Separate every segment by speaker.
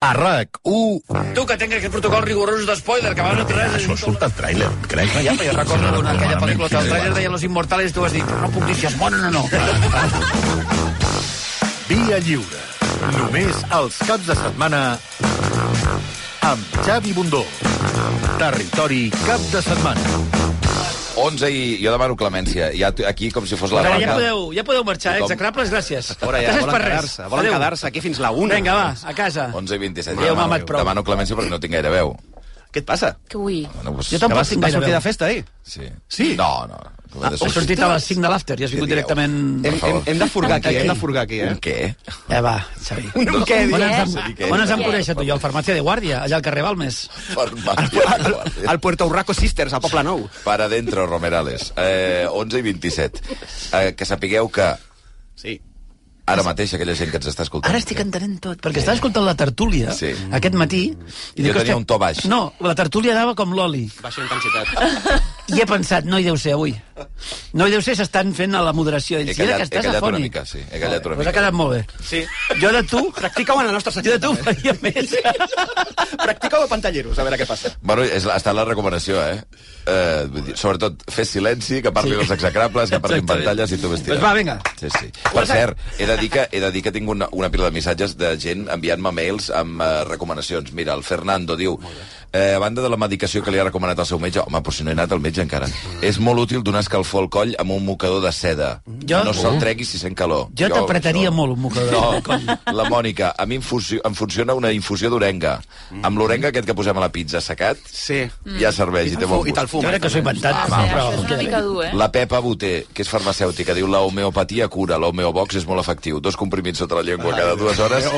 Speaker 1: a RAC1.
Speaker 2: Tu que tenc aquest protocol rigorós de spoiler, que abans no té
Speaker 3: Ah,
Speaker 2: res...
Speaker 1: Això surt al tràiler, crec.
Speaker 2: Ja, però jo
Speaker 1: Sí,
Speaker 2: recordo una, aquella
Speaker 1: normalment,
Speaker 2: pel·lícula que
Speaker 1: sí,
Speaker 2: el trailer
Speaker 1: igual.
Speaker 2: deien Los Inmortales i tu vas dir, però no puc dir si es moren o no.
Speaker 4: Via Lliure. Només els caps de setmana amb Xavi Bundó. Territori cap de setmana.
Speaker 5: 11 i jo demano clemència. Ja t- aquí com si fos la
Speaker 2: Però ja
Speaker 5: vaca.
Speaker 2: podeu, ja podeu marxar, eh?
Speaker 5: Tothom.
Speaker 2: execrables, gràcies.
Speaker 3: Fora ja,
Speaker 2: gràcies
Speaker 3: volen
Speaker 2: per res.
Speaker 3: quedar-se, volen
Speaker 2: Adéu.
Speaker 3: quedar-se aquí fins la una.
Speaker 2: Vinga, va, a casa.
Speaker 5: 11 i 27.
Speaker 2: Adéu,
Speaker 5: demano,
Speaker 2: mamat, prou.
Speaker 5: demano clemència perquè no tinc gaire veu.
Speaker 3: Què et passa?
Speaker 6: Que ui.
Speaker 5: Bueno, pues,
Speaker 2: Jo tampoc
Speaker 3: Que vas,
Speaker 2: tinc
Speaker 3: vas
Speaker 2: gaire
Speaker 3: sortir
Speaker 2: veu.
Speaker 3: de festa ahir?
Speaker 5: Sí.
Speaker 3: Sí?
Speaker 5: No, no.
Speaker 2: Ah, He sortit a les 5 de l'after i has vingut
Speaker 5: dieu?
Speaker 2: directament...
Speaker 3: Hem, hem, hem de furgar aquí,
Speaker 2: Què?
Speaker 3: eh? Hem de furgar aquí, eh?
Speaker 5: Un què?
Speaker 2: Ja va, Xavi.
Speaker 3: Un què?
Speaker 2: On ens,
Speaker 5: Sí,
Speaker 2: vam,
Speaker 5: què?
Speaker 2: on ens vam conèixer tu i jo? Al farmàcia de guàrdia, allà al carrer Balmes.
Speaker 5: Farmàcia.
Speaker 3: Al Puerto Urraco Sisters, al Poble Nou.
Speaker 5: Para dentro, Romerales. Eh, 11 i 27. Eh, que sapigueu que
Speaker 3: Sí.
Speaker 5: ara mateix aquella gent que ens està escoltant...
Speaker 2: Ara estic entenent tot, perquè estava escoltant la tertúlia
Speaker 5: Sí.
Speaker 2: aquest matí... I
Speaker 5: Jo
Speaker 2: dic,
Speaker 5: tenia
Speaker 2: "Hòstia,
Speaker 5: un to baix."
Speaker 2: No, la tertúlia anava com l'oli.
Speaker 3: Baixa intensitat.
Speaker 2: I he pensat, no hi deu ser avui. No hi deu ser, s'estan fent a la moderació. Ells,
Speaker 5: He
Speaker 2: callat,
Speaker 5: callat-
Speaker 2: que
Speaker 5: he
Speaker 2: estàs
Speaker 5: callat una
Speaker 2: afònic. doncs
Speaker 5: mica, sí, he callat una
Speaker 2: Pues ha
Speaker 5: mica.
Speaker 2: quedat molt bé.
Speaker 3: Sí.
Speaker 2: Jo de tu...
Speaker 3: Practica-ho en la nostra
Speaker 2: Jo de
Speaker 3: secció.
Speaker 2: tu faria més.
Speaker 3: Practica-ho a pantalleros, a veure què passa.
Speaker 5: Bueno, és, la- ha estat la recomanació, eh? eh vull dir, sobretot, fer silenci, que parlin
Speaker 2: Sí.
Speaker 5: sí. els execrables, que parlin
Speaker 2: Exactament.
Speaker 5: pantalles i tu vestiràs.
Speaker 2: Doncs va, vinga.
Speaker 5: Sí, sí. Per cert, he de dir que, he de dir que tinc una, una pila de missatges de gent enviant-me mails amb eh, recomanacions. Mira, el Fernando diu... Eh, a banda de la medicació que li ha recomanat el seu metge... Home, però si no he anat al metge encara. És molt útil donar escalfor al coll amb un mocador de seda.
Speaker 2: Jo- Uh.
Speaker 5: No se'l tregui si sent calor. "Oh,
Speaker 2: Jo t'apretaria molt un mocador
Speaker 5: No,
Speaker 2: al coll.
Speaker 5: la Mònica, a mi em, funcio, em funciona una infusió d'orenga.
Speaker 2: Mm.
Speaker 5: Amb l'orenga aquest que posem a la pizza secat,
Speaker 3: Sí.
Speaker 5: ja serveix i té bon
Speaker 3: Oh, I eh? te'l
Speaker 5: gust.
Speaker 2: Jo crec
Speaker 3: fuma.
Speaker 2: que s'ho he inventat.
Speaker 6: Ah,
Speaker 2: va,
Speaker 6: sí,
Speaker 2: però...
Speaker 6: això és una mica dur, eh?
Speaker 5: La Pepa Boter, que és farmacèutica, diu la homeopatia cura, l'homeobox és molt efectiu. Dos comprimits sota la llengua cada dues hores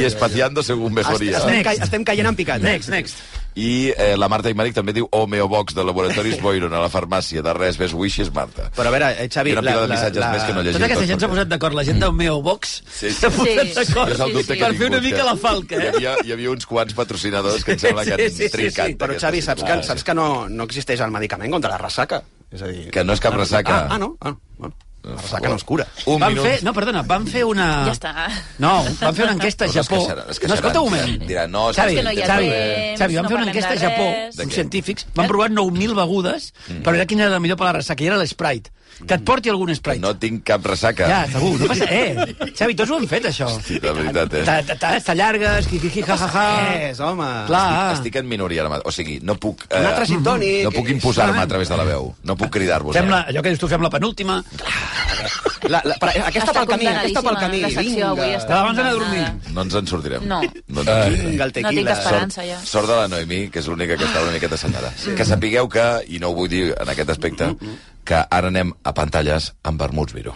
Speaker 5: i espaciando según mejoria.
Speaker 3: Estem, ca estem caient en picat. eh?
Speaker 2: Next, next.
Speaker 5: I eh, la Marta Imaric també diu homeobox de laboratoris Boiron a la farmàcia. De res, ves wishes, Marta.
Speaker 3: Però a veure, eh, Xavi...
Speaker 5: I una pila de missatges més que no llegim.
Speaker 2: Tota aquesta gent
Speaker 5: tots,
Speaker 2: s'ha posat d'acord, la gent del meu box
Speaker 5: eh? Mm. Sí, sí.
Speaker 2: s'ha posat
Speaker 6: Sí.
Speaker 2: d'acord
Speaker 5: Jo és el dubte que
Speaker 2: per
Speaker 5: he
Speaker 2: fer una
Speaker 5: tingut,
Speaker 2: mica
Speaker 5: que
Speaker 2: la falca,
Speaker 5: Hi
Speaker 2: eh?
Speaker 5: havia, hi havia uns quants patrocinadors que em sembla que
Speaker 2: Sí,
Speaker 5: han
Speaker 2: sí, sí, sí.
Speaker 5: trincat.
Speaker 3: Però,
Speaker 5: aquesta
Speaker 3: Xavi, saps que,
Speaker 5: situació.
Speaker 3: saps que no, no existeix el medicament contra la ressaca? És a dir...
Speaker 5: Que no és cap ressaca.
Speaker 3: Ah, ah, no? Ah, bueno. La ressaca no es cura.
Speaker 5: Un
Speaker 2: Van
Speaker 5: minut.
Speaker 2: fer, no, perdona, van fer una...
Speaker 6: Ja està.
Speaker 2: No, van fer una enquesta a
Speaker 5: Però es
Speaker 2: Japó.
Speaker 5: queixaran, es
Speaker 2: No,
Speaker 5: queixaran.
Speaker 2: escolta un moment.
Speaker 5: Diran, no, és que
Speaker 2: Xavi,
Speaker 5: no hi ha
Speaker 2: Xavi,
Speaker 6: temps,
Speaker 2: Xavi, van
Speaker 6: no
Speaker 2: fer una
Speaker 6: parlem
Speaker 2: enquesta a
Speaker 6: de
Speaker 2: Japó,
Speaker 6: res.
Speaker 5: De
Speaker 2: uns
Speaker 5: què?
Speaker 2: científics, van provar 9.000 begudes
Speaker 5: Mm.
Speaker 2: per veure quina era la millor per a la ressaca, i era l'Sprite. Que et porti algun Sprite.
Speaker 5: No tinc cap ressaca.
Speaker 2: Ja, segur, no passa... Eh, Xavi, tots ho han fet, això.
Speaker 5: Sí, la veritat, eh?
Speaker 2: Ta- ta- ta- T'allargues, quiquiqui, ja, ja,
Speaker 3: Què és,
Speaker 2: ja...
Speaker 3: home?
Speaker 2: Clar.
Speaker 5: Estic en minoria ara mateix. O sigui, no puc... eh,
Speaker 3: Un altre sintònic.
Speaker 5: no puc imposar-me a través de la veu. No puc cridar-vos. eh?
Speaker 2: Fem la, allò que dius tu, fem la penúltima.
Speaker 3: La, la, per, aquesta
Speaker 6: Està
Speaker 3: pel camí, aquesta pel
Speaker 6: condenadíssima,
Speaker 3: camí.
Speaker 6: La secció
Speaker 3: Vinga.
Speaker 6: avui està
Speaker 2: Però abans d'anar a dormir.
Speaker 6: condemnada.
Speaker 5: No ens en sortirem.
Speaker 6: No.
Speaker 5: no ens en
Speaker 2: Eh,
Speaker 5: sortirem.
Speaker 3: Vinga, el
Speaker 6: No tinc
Speaker 3: tequila.
Speaker 6: esperança.
Speaker 5: Sort,
Speaker 6: ja.
Speaker 5: sort de la Noemí, que és l'única que està una miqueta assenyada. Sí. Que sapigueu que, i no ho vull dir en aquest aspecte, que ara anem a pantalles amb vermuts, Miró.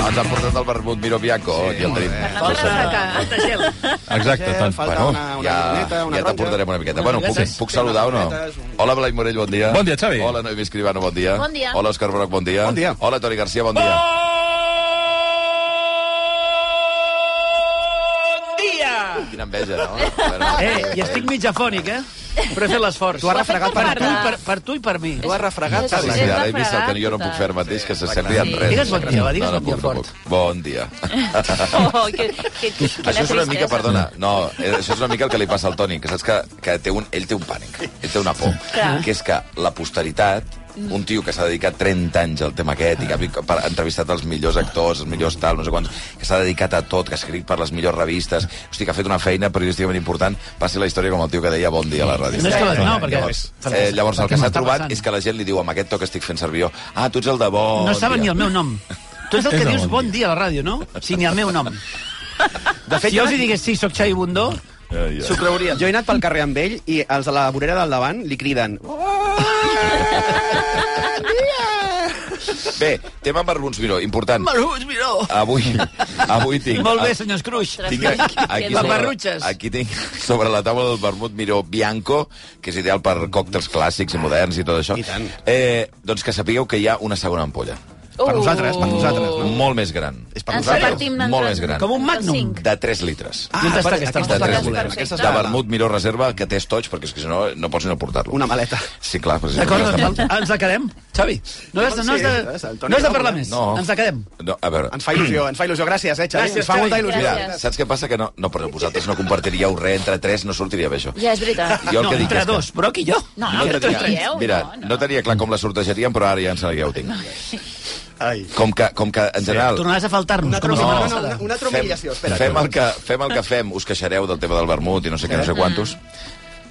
Speaker 5: Ens han portat el vermut Miro Bianco, sí, aquí el tenim.
Speaker 6: Fernando Ressaca.
Speaker 1: Exacte, tant.
Speaker 3: Falta
Speaker 1: Bueno,
Speaker 3: Ah, una, una
Speaker 5: ja,
Speaker 3: limoneta, una
Speaker 5: ja t'aportarem una miqueta. Bueno, puc,
Speaker 2: Gràcies.
Speaker 5: puc saludar o no?
Speaker 3: Gràcies, un-
Speaker 5: Hola, Blai Morell, bon dia.
Speaker 1: Bon dia, Xavi.
Speaker 5: Hola, Noemi Escribano, bon dia.
Speaker 6: Bon dia.
Speaker 5: Hola, Òscar Broc, bon dia.
Speaker 3: Bon dia.
Speaker 5: Hola, Toni Garcia, bon dia.
Speaker 1: Oh!
Speaker 5: Quina enveja, no? Bueno,
Speaker 2: Eh, i estic mig afònic, eh? Però he fet l'esforç.
Speaker 3: Tu has refregat
Speaker 2: per
Speaker 3: per
Speaker 2: tu,
Speaker 3: tu,
Speaker 2: per, per tu i per mi.
Speaker 3: tu has refregat,
Speaker 6: És-
Speaker 5: Sí,
Speaker 3: Xavi.
Speaker 5: sí, ara he
Speaker 6: refregat,
Speaker 5: vist el que jo no puc fer ara mateix, que se senti en res.
Speaker 2: Digues bon dia, va, digues
Speaker 5: no, no
Speaker 2: bon dia
Speaker 5: puc, no
Speaker 2: fort.
Speaker 5: puc. Bon dia.
Speaker 6: Oh, que, que, que, quina
Speaker 5: Això és una mica,
Speaker 6: tristesa.
Speaker 5: perdona, no, eh, això és una mica el que li passa al Toni, que saps que, que té un, ell té un pànic, ell té una por,
Speaker 6: Clar. Mm.
Speaker 5: que és que la posteritat, un tio que s'ha dedicat 30 anys al tema aquest i que ha vi- ha entrevistat els millors actors, els millors tal, no sé quants, que s'ha dedicat a tot, que ha escrit per les millors revistes, hosti, que ha fet una feina periodísticament important, passi la història com el tio que deia bon dia a la ràdio.
Speaker 2: No és que la- no, perquè-
Speaker 5: llavors, eh, llavors el
Speaker 2: perquè
Speaker 5: que s'ha
Speaker 2: m'està
Speaker 5: trobat
Speaker 2: passant.
Speaker 5: és que la gent li diu amb aquest to que estic fent servir jo, ah, tu ets el de bon
Speaker 2: No saben
Speaker 5: dia."
Speaker 2: ni el meu nom. Tu ets el que
Speaker 1: És el
Speaker 2: dius
Speaker 1: bon
Speaker 2: bon dia a la ràdio, no? Sí, ni el meu nom. De fet, si jo els hi digués sí, soc Xavi Bundó,
Speaker 5: Ai, ai.
Speaker 2: s'ho creurien.
Speaker 3: Jo he anat pel carrer amb ell i els de la vorera del davant li criden...
Speaker 5: Bé, tema amb Barbuns Miró, important.
Speaker 2: Marús, miró.
Speaker 5: Avui, avui tinc...
Speaker 2: Molt bé, senyor Scrooge.
Speaker 6: Ostres.
Speaker 5: Tinc aquí, aquí,
Speaker 2: Les
Speaker 5: sobre,
Speaker 2: barrutxes.
Speaker 5: aquí tinc sobre la taula del vermut Miró Bianco, que és ideal per còctels clàssics i moderns i tot això.
Speaker 3: I tant.
Speaker 5: Eh, doncs que sapigueu que hi ha una segona ampolla.
Speaker 3: Per nosaltres, per nosaltres.
Speaker 5: Oh.
Speaker 3: No?
Speaker 5: Molt més gran.
Speaker 3: És per
Speaker 6: Uh. Ens
Speaker 3: nosaltres.
Speaker 6: repartim
Speaker 5: Molt
Speaker 6: nosaltres.
Speaker 5: més gran.
Speaker 2: Com un magnum.
Speaker 6: Els cinc.
Speaker 5: De 3 litres.
Speaker 2: I on està
Speaker 3: per-
Speaker 2: aquesta?
Speaker 3: Aquesta
Speaker 5: de
Speaker 3: és la
Speaker 5: tres
Speaker 3: que volem.
Speaker 5: litres.
Speaker 3: Aquesta és
Speaker 5: De
Speaker 3: la que volem.
Speaker 5: vermut, millor reserva, que té estoig, perquè és que si no, no pots ni no portar-lo.
Speaker 3: Una maleta.
Speaker 5: Sí, clar, però si
Speaker 2: D'acord,
Speaker 5: no,
Speaker 2: doncs ens la quedem. Xavi, no has, de, no has,
Speaker 3: Sí, és
Speaker 2: de,
Speaker 3: el Toni
Speaker 2: no has de
Speaker 3: Ramon,
Speaker 2: parlar
Speaker 3: eh?
Speaker 2: més.
Speaker 5: No.
Speaker 2: Ens la quedem.
Speaker 5: no, a veure,
Speaker 3: Ens fa il·lusió, ens fa il·lusió. Gràcies, eh, Xavi?
Speaker 2: Gràcies,
Speaker 3: ens fa molta
Speaker 2: Xavi.
Speaker 3: il·lusió.
Speaker 5: Mira,
Speaker 6: Gràcies.
Speaker 5: saps què passa? Que no, no, però vosaltres no compartiríeu res entre tres, no sortiria bé això.
Speaker 6: Ja, és veritat.
Speaker 5: Jo el
Speaker 2: No,
Speaker 5: que dic
Speaker 2: entre
Speaker 5: és que...
Speaker 2: dos, Broc i jo.
Speaker 6: No,
Speaker 5: No
Speaker 6: no,
Speaker 5: tenia,
Speaker 6: trieu,
Speaker 5: mira,
Speaker 6: no,
Speaker 5: no,
Speaker 6: no.
Speaker 5: tenia clar com la sortejaríem, però ara ja, ens, ja ho tinc.
Speaker 3: Ai.
Speaker 5: Com que, com que en general...
Speaker 2: Tornaràs a faltar-nos,
Speaker 3: Una
Speaker 2: com
Speaker 3: altra,
Speaker 2: la setmana
Speaker 3: no, no,
Speaker 2: passada.
Speaker 3: una, una altra
Speaker 5: fem,
Speaker 3: humiliació, espera.
Speaker 5: fem, el que, fem el que fem, us queixareu del tema del vermut i no sé què, no sé quantos.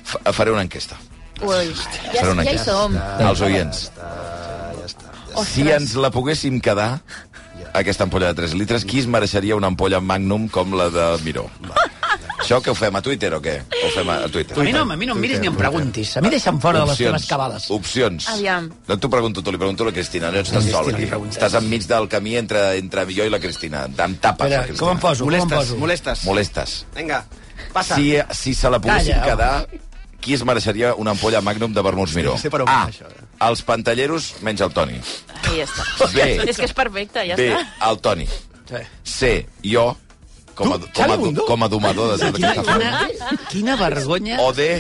Speaker 5: Fa- Faré una enquesta.
Speaker 6: Ui, ja,
Speaker 5: Faré una
Speaker 6: ja hi
Speaker 5: enquesta
Speaker 6: som.
Speaker 5: als oients. Si ens la poguéssim quedar, aquesta ampolla de 3 litres, qui es mereixeria una ampolla Magnum com la de Miró? Això que ho fem a Twitter o què? Ho fem a a Twitter.
Speaker 2: A mi no, a mi no em miris ni em preguntis. A mi deixa'm fora de les teves cavades.
Speaker 5: Opcions.
Speaker 6: Aviam.
Speaker 5: No t'ho pregunto tu, li pregunto a la Cristina. No estàs sol aquí. Estàs enmig del camí entre, entre jo i la Cristina. Em tapes,
Speaker 2: Espera,
Speaker 5: la Cristina.
Speaker 2: com em poso? Com em
Speaker 3: Molestes,
Speaker 2: poso?
Speaker 3: molestes.
Speaker 5: Molestes.
Speaker 3: Vinga, passa.
Speaker 5: Si, si se la poguessin
Speaker 2: Calla, home.
Speaker 5: quedar, qui es mereixeria una ampolla Magnum de Vermuts Miró?
Speaker 3: sé per on
Speaker 5: A.
Speaker 3: va això, eh?
Speaker 5: Els pantalleros, menys el Toni.
Speaker 6: Ahí ja està.
Speaker 5: Bé.
Speaker 6: És que és perfecte, ja
Speaker 5: B.
Speaker 6: està.
Speaker 5: El Toni.
Speaker 2: Sí.
Speaker 5: C. Jo, com a,
Speaker 2: Tu,
Speaker 5: com
Speaker 2: Xavi
Speaker 5: a,
Speaker 2: Bundó?
Speaker 5: com a domador de tot
Speaker 2: Quina,
Speaker 5: aquesta feina.
Speaker 2: quina, quina vergonya.
Speaker 5: O D...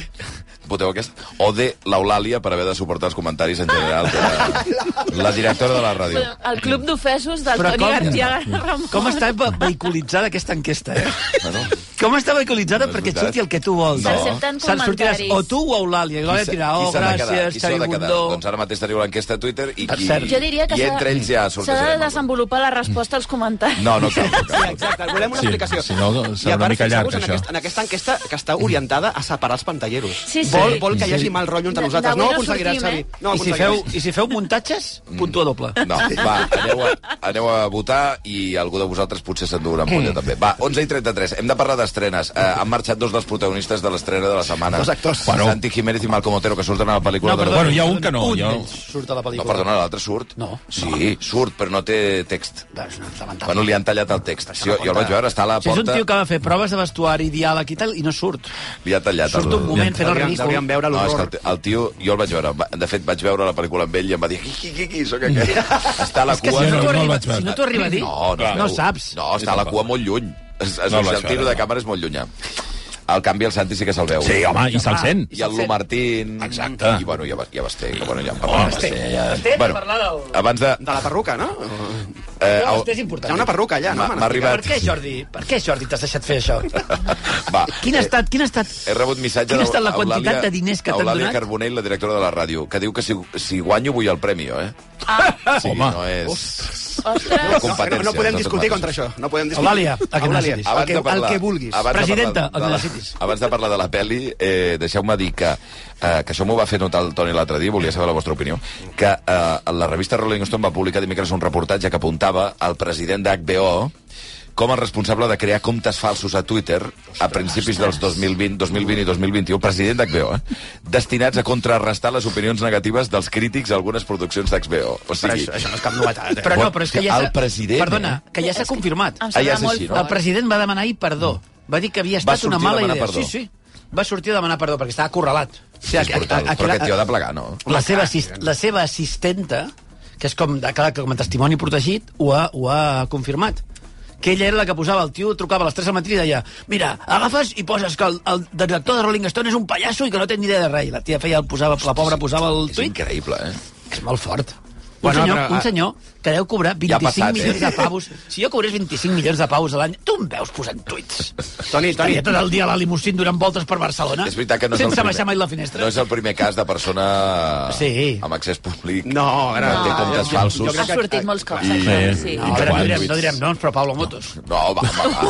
Speaker 5: Voteu aquesta? O D. L'Eulàlia per haver de suportar els comentaris en general de la directora de la ràdio.
Speaker 6: El club d'ofesos del
Speaker 2: Però
Speaker 6: Toni
Speaker 2: com-
Speaker 6: García Ramon.
Speaker 2: Com està ve- vehiculitzada aquesta enquesta, eh?
Speaker 5: Bueno,
Speaker 2: Com està vehiculitzada
Speaker 5: No és
Speaker 2: perquè et
Speaker 5: veritat.
Speaker 2: surti el que tu vols.
Speaker 5: No.
Speaker 6: S'accepten
Speaker 2: Se'n sortiràs
Speaker 6: comentaris.
Speaker 2: o tu o Eulàlia. I
Speaker 5: qui
Speaker 2: Eulàlia
Speaker 5: s'ha-
Speaker 2: dirà,
Speaker 5: qui
Speaker 2: oh,
Speaker 5: s'ha de quedar?
Speaker 2: gràcies,
Speaker 5: Qui s'ha
Speaker 2: Xavi
Speaker 5: de quedar?
Speaker 2: Bundó.
Speaker 5: Doncs ara mateix teniu l'enquesta a Twitter i,
Speaker 2: Per
Speaker 5: qui,
Speaker 2: cert.
Speaker 6: Jo diria que
Speaker 5: i
Speaker 6: s'ha
Speaker 5: entre ells ja
Speaker 6: s'ha de
Speaker 5: sortejarem. algú.
Speaker 6: desenvolupar la resposta als comentaris.
Speaker 5: No, no cal. No cal.
Speaker 3: Sí, exacte, volem una
Speaker 1: Sí,
Speaker 3: explicació.
Speaker 1: si no, doncs, serà
Speaker 3: I a
Speaker 1: una
Speaker 3: part,
Speaker 1: mica llarg,
Speaker 3: fixeu-vos en
Speaker 1: això.
Speaker 3: Aquesta, en aquesta enquesta que està orientada a separar els pantalleros.
Speaker 6: Sí, sí.
Speaker 3: Vol, vol que hi hagi
Speaker 2: Sí.
Speaker 3: mal rotllo entre
Speaker 6: De-
Speaker 3: nosaltres.
Speaker 6: d'avui
Speaker 3: No ho
Speaker 6: no
Speaker 3: aconseguiràs,
Speaker 6: sortim,
Speaker 3: Xavi.
Speaker 6: eh?
Speaker 3: No ho
Speaker 2: I si feu, I si feu muntatges, puntua doble.
Speaker 5: Mm. No, va, aneu a, aneu a votar i algú de vosaltres potser s'endú una ampolla
Speaker 2: Mm.
Speaker 5: també. Va, 11 i 33, hem de parlar d'estrenes. Eh, han marxat dos dels protagonistes de l'estrena de la setmana.
Speaker 3: Dos actors.
Speaker 5: Bueno. Santi Jiménez i Malcom Otero, que surten a la pel·lícula. de-
Speaker 1: Bueno, hi ha un que no,
Speaker 2: Un
Speaker 1: hi ha-
Speaker 2: d'ells surt a la
Speaker 5: No,
Speaker 2: pel·lícula.
Speaker 5: perdona, l'altre surt.
Speaker 2: No.
Speaker 5: Sí, surt, però no té text.
Speaker 2: Doncs no, és lamentable.
Speaker 5: Bueno, li han tallat el text. Sí, jo, jo el vaig veure, està a la
Speaker 2: Si és un
Speaker 5: porta,
Speaker 2: tio que va fer proves de vestuari, diàleg i tal, i no surt.
Speaker 5: li ha tallat
Speaker 2: Surt un moment fent el
Speaker 3: Deurien,
Speaker 2: ridícul.
Speaker 3: deurien veure
Speaker 5: No, és que el,
Speaker 3: l'horror.
Speaker 5: t- el tio, jo el vaig veure. Va- De fet, vaig veure la pel·lícula amb ell i em va dir... Qui, qui, qui, qui sóc aquest? Està a la
Speaker 2: És que
Speaker 5: cua...
Speaker 1: no,
Speaker 2: si no
Speaker 1: no
Speaker 2: t'ho
Speaker 1: el
Speaker 2: arriba,
Speaker 1: vaig veure.
Speaker 2: si no t'ho arriba a dir,
Speaker 5: No, no,
Speaker 2: no
Speaker 5: veu.
Speaker 2: saps.
Speaker 5: No, està a la cua molt lluny. Es, es,
Speaker 1: No,
Speaker 5: no, el
Speaker 1: això,
Speaker 5: tiro de
Speaker 1: no.
Speaker 5: càmera és molt llunyà. Al canvi, el Santi sí que se'l veu.
Speaker 1: Sí, home, Ah, i se'l sent.
Speaker 5: I el Lu Martín... Exacte. I, bueno, ja, va- ja vas té, que, bueno, ja en parlarem.
Speaker 2: Basté.
Speaker 5: sí,
Speaker 2: Basté,
Speaker 5: Bueno,
Speaker 2: parlar del-
Speaker 5: abans de...
Speaker 3: De la perruca, no?
Speaker 5: Eh,
Speaker 2: No,
Speaker 5: au-
Speaker 2: Basté és
Speaker 3: Hi
Speaker 2: important.
Speaker 3: ha una perruca allà, no?
Speaker 5: M'ha
Speaker 3: me
Speaker 5: m'ha
Speaker 3: n'explica.
Speaker 2: Per
Speaker 5: arribat...
Speaker 2: què, Jordi? Per què, Jordi, t'has deixat fer això?
Speaker 5: Va,
Speaker 2: Quin ha
Speaker 5: eh,
Speaker 2: estat, quin ha estat
Speaker 5: He rebut missatge
Speaker 2: Quina ha estat la
Speaker 5: d'Eulàlia-
Speaker 2: quantitat de diners que t'han
Speaker 5: Eulàlia
Speaker 2: donat?
Speaker 5: Carbonell, la directora de la ràdio, que diu que si, si guanyo vull el premi, jo, eh? Ah. Sí,
Speaker 1: Home.
Speaker 5: no és...
Speaker 6: Ostres,
Speaker 3: No, no, no podem discutir contra això. No podem discutir.
Speaker 2: Eulàlia, a que
Speaker 3: Eulàlia,
Speaker 2: necessitis.
Speaker 3: el que, el que vulguis.
Speaker 5: abans de
Speaker 2: Presidenta,
Speaker 5: parlar
Speaker 2: el que
Speaker 5: de
Speaker 2: necessitis.
Speaker 5: la, abans de parlar de la peli, eh, deixeu-me dir que, eh, que això m'ho va fer notar el Toni l'altre dia, volia saber la vostra opinió, que eh, la revista Rolling Stone va publicar dimecres un reportatge que apuntava al president d'HBO com a responsable de crear comptes falsos a Twitter a principis dels 2020, 2020 i 2021, president d'HBO, eh? destinats a contrarrestar les opinions negatives dels crítics a algunes produccions d'HBO. O
Speaker 3: Però
Speaker 5: sigui,
Speaker 3: això, això no és cap novetat. Eh?
Speaker 2: Però no, però és que ja
Speaker 5: El
Speaker 2: s'ha-
Speaker 5: president,
Speaker 2: Perdona,
Speaker 5: eh?
Speaker 2: que ja s'ha confirmat.
Speaker 6: em
Speaker 5: Ah, ja
Speaker 6: sembla
Speaker 5: és
Speaker 6: molt
Speaker 5: així, no? Mm.
Speaker 2: El
Speaker 6: fort.
Speaker 2: president va demanar ahir perdó. Va dir que havia
Speaker 5: Va
Speaker 2: estat una
Speaker 5: sortir a
Speaker 2: mala
Speaker 5: demanar
Speaker 2: idea.
Speaker 5: perdó.
Speaker 2: Sí, sí. Va sortir a demanar perdó perquè estava acorralat. O sigui,
Speaker 5: és brutal. Però aquest tio ha de plegar, no?
Speaker 2: la seva, assist, la seva assistenta, que és com, de, clar, com a testimoni protegit, ho ha, ho ha confirmat que ella era la que posava, el tio trucava a les 3 del matí i deia, mira, agafes i poses que el, el director de Rolling Stone és un pallasso i que no té ni idea de res. I la tia feia, el posava, la pobra posava el
Speaker 5: És
Speaker 2: tuit
Speaker 5: increïble, eh?
Speaker 2: és molt fort. Un,
Speaker 3: Bueno,
Speaker 2: bueno, senyor,
Speaker 3: però,
Speaker 2: un
Speaker 3: ah,
Speaker 2: senyor que deu cobrar 25
Speaker 5: Ja ha passat, eh?
Speaker 2: milions de pavos. Si jo cobrés 25 milions de pavos a l'any, tu em veus posant tuits.
Speaker 3: Toni, Toni,
Speaker 2: Estaria tot el dia a la limusín donant voltes per Barcelona.
Speaker 5: És veritat que no és el
Speaker 2: Ah. sense
Speaker 5: primer.
Speaker 2: baixar mai la finestra.
Speaker 5: No és el primer cas de persona
Speaker 2: Sí.
Speaker 5: amb accés públic.
Speaker 3: No, ara-
Speaker 5: Que té
Speaker 6: No.
Speaker 5: comptes
Speaker 3: Jo-
Speaker 5: falsos.
Speaker 3: jo crec
Speaker 6: Ha sortit molts cops,
Speaker 1: I-
Speaker 6: això,
Speaker 1: Sí.
Speaker 6: sí.
Speaker 2: No, ara no
Speaker 1: Quan?
Speaker 2: direm, no direm noms, però Pablo Motos.
Speaker 5: No, va, va, va.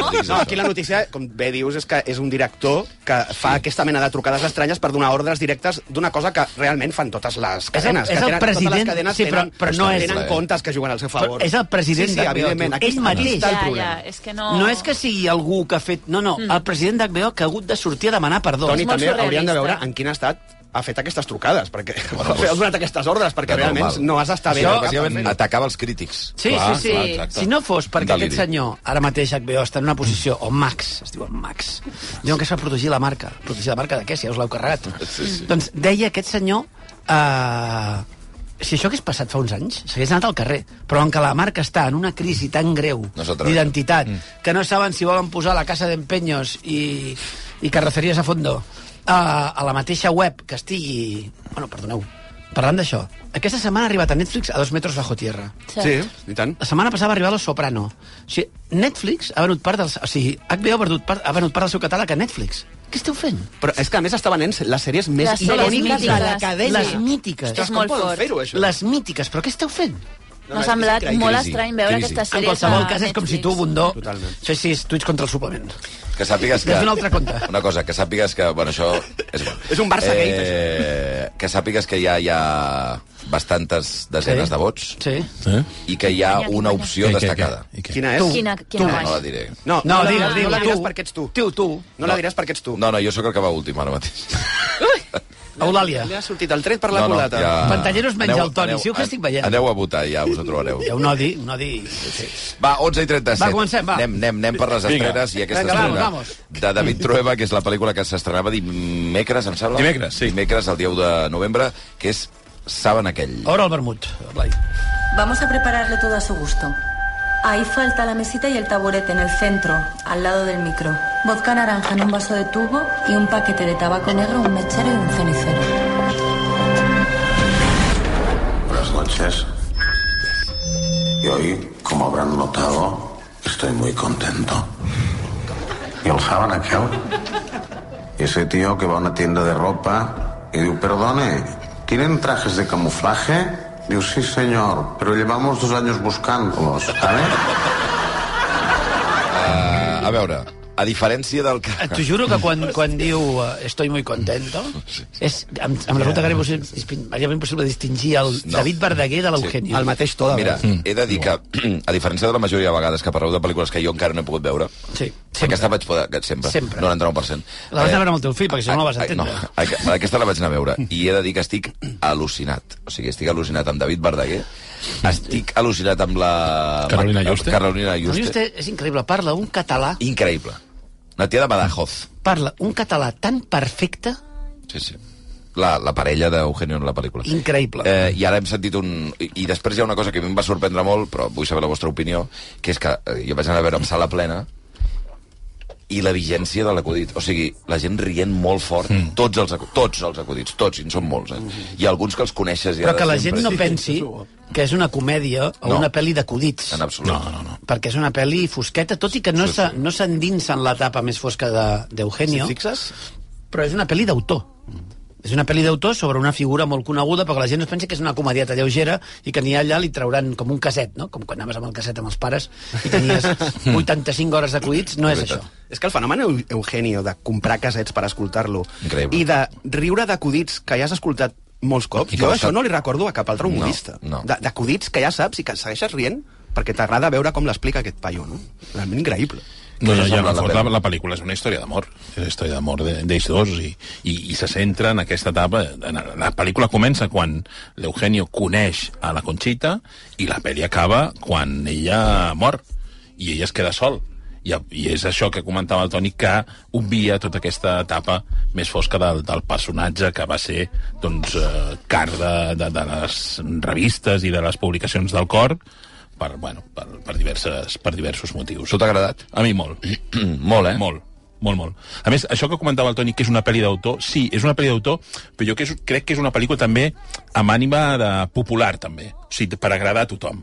Speaker 5: No diguis
Speaker 3: No,
Speaker 5: això.
Speaker 3: aquí la notícia, com bé dius, és que és un director que fa aquesta mena de trucades estranyes per donar ordres directes d'una cosa que realment fan totes les cadenes.
Speaker 2: és el
Speaker 3: que tenen, Totes
Speaker 2: president-
Speaker 3: les cadenes
Speaker 2: sí, però-
Speaker 3: tenen,
Speaker 2: però no és-
Speaker 3: tenen comptes que juguen al seu favor.
Speaker 2: Però és el president
Speaker 3: sí, sí,
Speaker 2: d'HBO,
Speaker 3: evidentment.
Speaker 2: tu.
Speaker 3: Aquí,
Speaker 2: Ell mateix.
Speaker 3: Aquí està el
Speaker 6: Ja,
Speaker 3: problema.
Speaker 6: ja, és que no...
Speaker 2: No és que sigui algú que ha fet... No, no, el president d'HBO que ha hagut de sortir a demanar perdó.
Speaker 3: Toni,
Speaker 6: molt
Speaker 3: també hauríem de
Speaker 6: surrealista.
Speaker 3: veure en quin estat ha fet aquestes trucades, perquè
Speaker 5: Bueno,
Speaker 3: bueno,
Speaker 5: doncs-
Speaker 3: has donat aquestes ordres, perquè
Speaker 5: Que
Speaker 3: realment
Speaker 5: normal.
Speaker 3: no has d'estar bé.
Speaker 5: Això,
Speaker 3: de cap
Speaker 5: bàsicament,
Speaker 3: manera.
Speaker 5: atacava els crítics.
Speaker 2: Sí,
Speaker 1: Clar,
Speaker 2: sí, sí.
Speaker 1: clar, exacte.
Speaker 2: si no fos perquè
Speaker 5: Deliri.
Speaker 2: Deliri. aquest senyor, ara mateix HBO, està en una posició, o Max, es diu Max, diuen que és per protegir la marca. Protegir la marca de què, si ja us l'heu carregat?
Speaker 5: Sí, sí.
Speaker 2: Doncs deia aquest senyor... Eh, si això hagués passat fa uns anys, s'hagués anat al carrer. Però en què la marca està en una crisi tan greu
Speaker 5: No s'atreveix.
Speaker 2: d'identitat,
Speaker 1: Mm.
Speaker 2: que no saben si volen posar la casa d'empenyos i, i carroceries a fondo eh, a, a la mateixa web que estigui... Bueno, perdoneu, parlant d'això, aquesta setmana ha arribat a Netflix a dos metres bajo tierra.
Speaker 3: Mm. Sí, i tant.
Speaker 2: La setmana passada va arribar Los Soprano. O sigui, Netflix ha venut part del... O sigui, HBO ha venut part, ha venut part del seu catàleg a Netflix. Què esteu fent?
Speaker 3: Però és que, a més, està venent les sèries més
Speaker 6: Les sèries
Speaker 3: icòniques de la
Speaker 6: mítiques.
Speaker 3: cadena.
Speaker 2: Les mítiques.
Speaker 6: Ostres,
Speaker 3: Com
Speaker 6: molt
Speaker 3: poden
Speaker 6: fort.
Speaker 3: fer-ho, això?
Speaker 2: Les mítiques, però què esteu fent?
Speaker 6: M'ha semblat
Speaker 5: crisi,
Speaker 6: molt
Speaker 5: crisi,
Speaker 6: estrany veure
Speaker 5: crisi.
Speaker 6: aquestes
Speaker 2: En
Speaker 6: sèries
Speaker 2: qualsevol
Speaker 6: a
Speaker 2: cas és com si
Speaker 6: Netflix.
Speaker 2: tu, Bundó,
Speaker 3: Totalment.
Speaker 2: fessis tuits contra el suplement.
Speaker 5: Que sàpigues que...
Speaker 2: Des d'un altre compte.
Speaker 5: Una cosa, que sàpigues que... Bueno, això... És, bo.
Speaker 3: És un Barça gate,
Speaker 5: eh, Que sàpigues que hi ha, hi ha bastantes desenes
Speaker 2: Sí.
Speaker 5: de vots
Speaker 2: Sí.
Speaker 1: Eh?
Speaker 5: i que hi ha
Speaker 6: Guanya, qui
Speaker 5: una
Speaker 6: guanya?
Speaker 5: opció destacada.
Speaker 1: I què?
Speaker 3: Quina és?
Speaker 6: Quina, quina
Speaker 5: No,
Speaker 6: baix.
Speaker 5: no la diré.
Speaker 2: No,
Speaker 3: No, no, la-
Speaker 2: digue'l,
Speaker 3: no la
Speaker 2: digue'l,
Speaker 3: diràs
Speaker 2: tu.
Speaker 3: perquè ets tu.
Speaker 2: Tio, tu.
Speaker 3: No la diràs perquè ets tu.
Speaker 5: No, no, jo sóc el que va últim ara mateix.
Speaker 2: Eulàlia.
Speaker 3: Li ha sortit el tret per la
Speaker 5: no, no,
Speaker 3: culata.
Speaker 2: Pantalleros menys
Speaker 5: Aneu-
Speaker 2: el Toni,
Speaker 5: aneu-
Speaker 2: si ho que estic veient.
Speaker 5: Aneu a votar, ja us ho trobareu.
Speaker 2: Hi ha un odi, un odi... Sí.
Speaker 5: Va, 11 i 37.
Speaker 2: Va, comencem, va.
Speaker 5: Anem, anem, anem per les
Speaker 1: Vinga.
Speaker 5: estrenes i aquesta
Speaker 2: Vinga, vamos,
Speaker 5: estrena
Speaker 2: vamos.
Speaker 5: de David Trueba, que és la pel·lícula que s'estrenava dimecres, em sembla?
Speaker 1: Dimecres, sí.
Speaker 5: Dimecres, el 10 de novembre, que és Saben aquell.
Speaker 2: Obre el vermut, Blai.
Speaker 7: Vamos a prepararle todo a su gusto. Ahí falta la mesita y el taburete en el centro, al lado del micro. Vodka naranja en un vaso de tubo y un paquete de tabaco negro, un mechero y un cenicero.
Speaker 8: Buenas noches. Y hoy, como habrán notado, estoy muy contento. ¿Y el saben aquel? Ese tío que va a una tienda de ropa y digo, perdone, ¿tienen trajes de camuflaje? Digo, sí señor, pero llevamos dos años buscándolos, ¿sabes?
Speaker 5: A, a veure, a diferència del que...
Speaker 2: Eh, T'ho juro que quan, quan diu eh, estoy muy contento, és, em, em resulta gairebé impossible, distin- gairebé impossible distingir el
Speaker 5: No.
Speaker 2: David Verdaguer de l'Eugenio.
Speaker 3: El mateix to, de
Speaker 5: Mira,
Speaker 3: vegades.
Speaker 1: Mm.
Speaker 5: he de dir que, a diferència de la majoria de vegades que parleu de pel·lícules que jo encara no he pogut veure,
Speaker 2: Sí,
Speaker 5: Sempre. Aquesta vaig poder... que Sempre.
Speaker 2: Sempre.
Speaker 5: 99%.
Speaker 2: La vas anar a veure amb el teu fill, perquè si no, no la vas
Speaker 5: Eh, Ai,
Speaker 2: entendre.
Speaker 5: No, aqu- aquesta la vaig anar a veure i he de dir que estic al·lucinat. O sigui, estic al·lucinat amb David Verdaguer, estic al·lucinat amb la...
Speaker 1: Carolina Juste.
Speaker 5: Carolina
Speaker 2: Però
Speaker 5: Juste.
Speaker 2: vostè és increïble, parla un català,
Speaker 5: Increïble. Una tia de Badajoz.
Speaker 2: parla un català tan perfecte,
Speaker 5: Sí, sí. La, la parella d'Eugenio en la pel·lícula.
Speaker 2: increïble.
Speaker 5: Eh, I ara hem sentit un... I, I després hi ha una cosa que a mi em va sorprendre molt, però vull saber la vostra opinió, que és que eh, jo vaig anar a veure amb sala plena i la vigència de l'acudit. O sigui, la gent rient molt fort, mm. tots, els, acu- tots els acudits, tots, i en són molts, eh? Hi ha alguns que els coneixes ja
Speaker 2: Però que
Speaker 5: de
Speaker 2: la gent
Speaker 5: sempre.
Speaker 2: no pensi que és una comèdia o
Speaker 5: No.
Speaker 2: una pel·li d'acudits.
Speaker 5: En absolut. No, no, no.
Speaker 2: Perquè és una pel·li fosqueta, tot i que no
Speaker 5: Sí,
Speaker 2: s'ha-
Speaker 5: sí.
Speaker 2: no s'endinsa en l'etapa més fosca de- d'Eugenio,
Speaker 3: Si fixes?
Speaker 2: però és una pel·li d'autor. És una pel·li d'autor sobre una figura molt coneguda perquè la gent es pensa que és una comedieta lleugera i que ni allà li trauran com un caset, no? Com quan anaves amb el caset amb els pares i tenies 85 hores d'acudits, no és això.
Speaker 5: Veritat.
Speaker 3: És que el fenomen Eu- Eugenio de comprar casets per escoltar-lo
Speaker 5: Increïble.
Speaker 3: i de riure d'acudits que ja has escoltat molts cops,
Speaker 5: I que
Speaker 3: jo
Speaker 5: ha
Speaker 3: això
Speaker 5: estat-
Speaker 3: no li recordo a cap altre humorista.
Speaker 5: no.
Speaker 3: De- D'acudits que ja saps i que segueixes rient perquè t'agrada veure com l'explica aquest paio, no? Realment increïble.
Speaker 1: No, no, ja,
Speaker 5: sembla
Speaker 1: la,
Speaker 5: la
Speaker 1: la,
Speaker 5: pel·li?
Speaker 1: la pel·lícula és una història d'amor. És una història d'amor de- d'ells dos i, i, i se centra en aquesta etapa. En, la pel·lícula comença quan l'Eugenio coneix a la Conxita i la pel·li acaba quan ella mor i ella es queda sol. I, I és això que comentava el Toni, que obvia tota aquesta etapa més fosca del, del personatge que va ser doncs, eh, car de, de, de les revistes i de les publicacions del cor per, bueno, per, per, diverses, per diversos motius.
Speaker 5: Això t'ha agradat?
Speaker 1: A mi molt.
Speaker 5: molt, eh?
Speaker 1: Molt, molt, molt. A més, això que comentava el Toni, que és una pel·li d'autor, sí, és una pel·li d'autor, però jo que és, crec que és una pel·lícula també amb ànima de popular, també. O sigui, per agradar a tothom.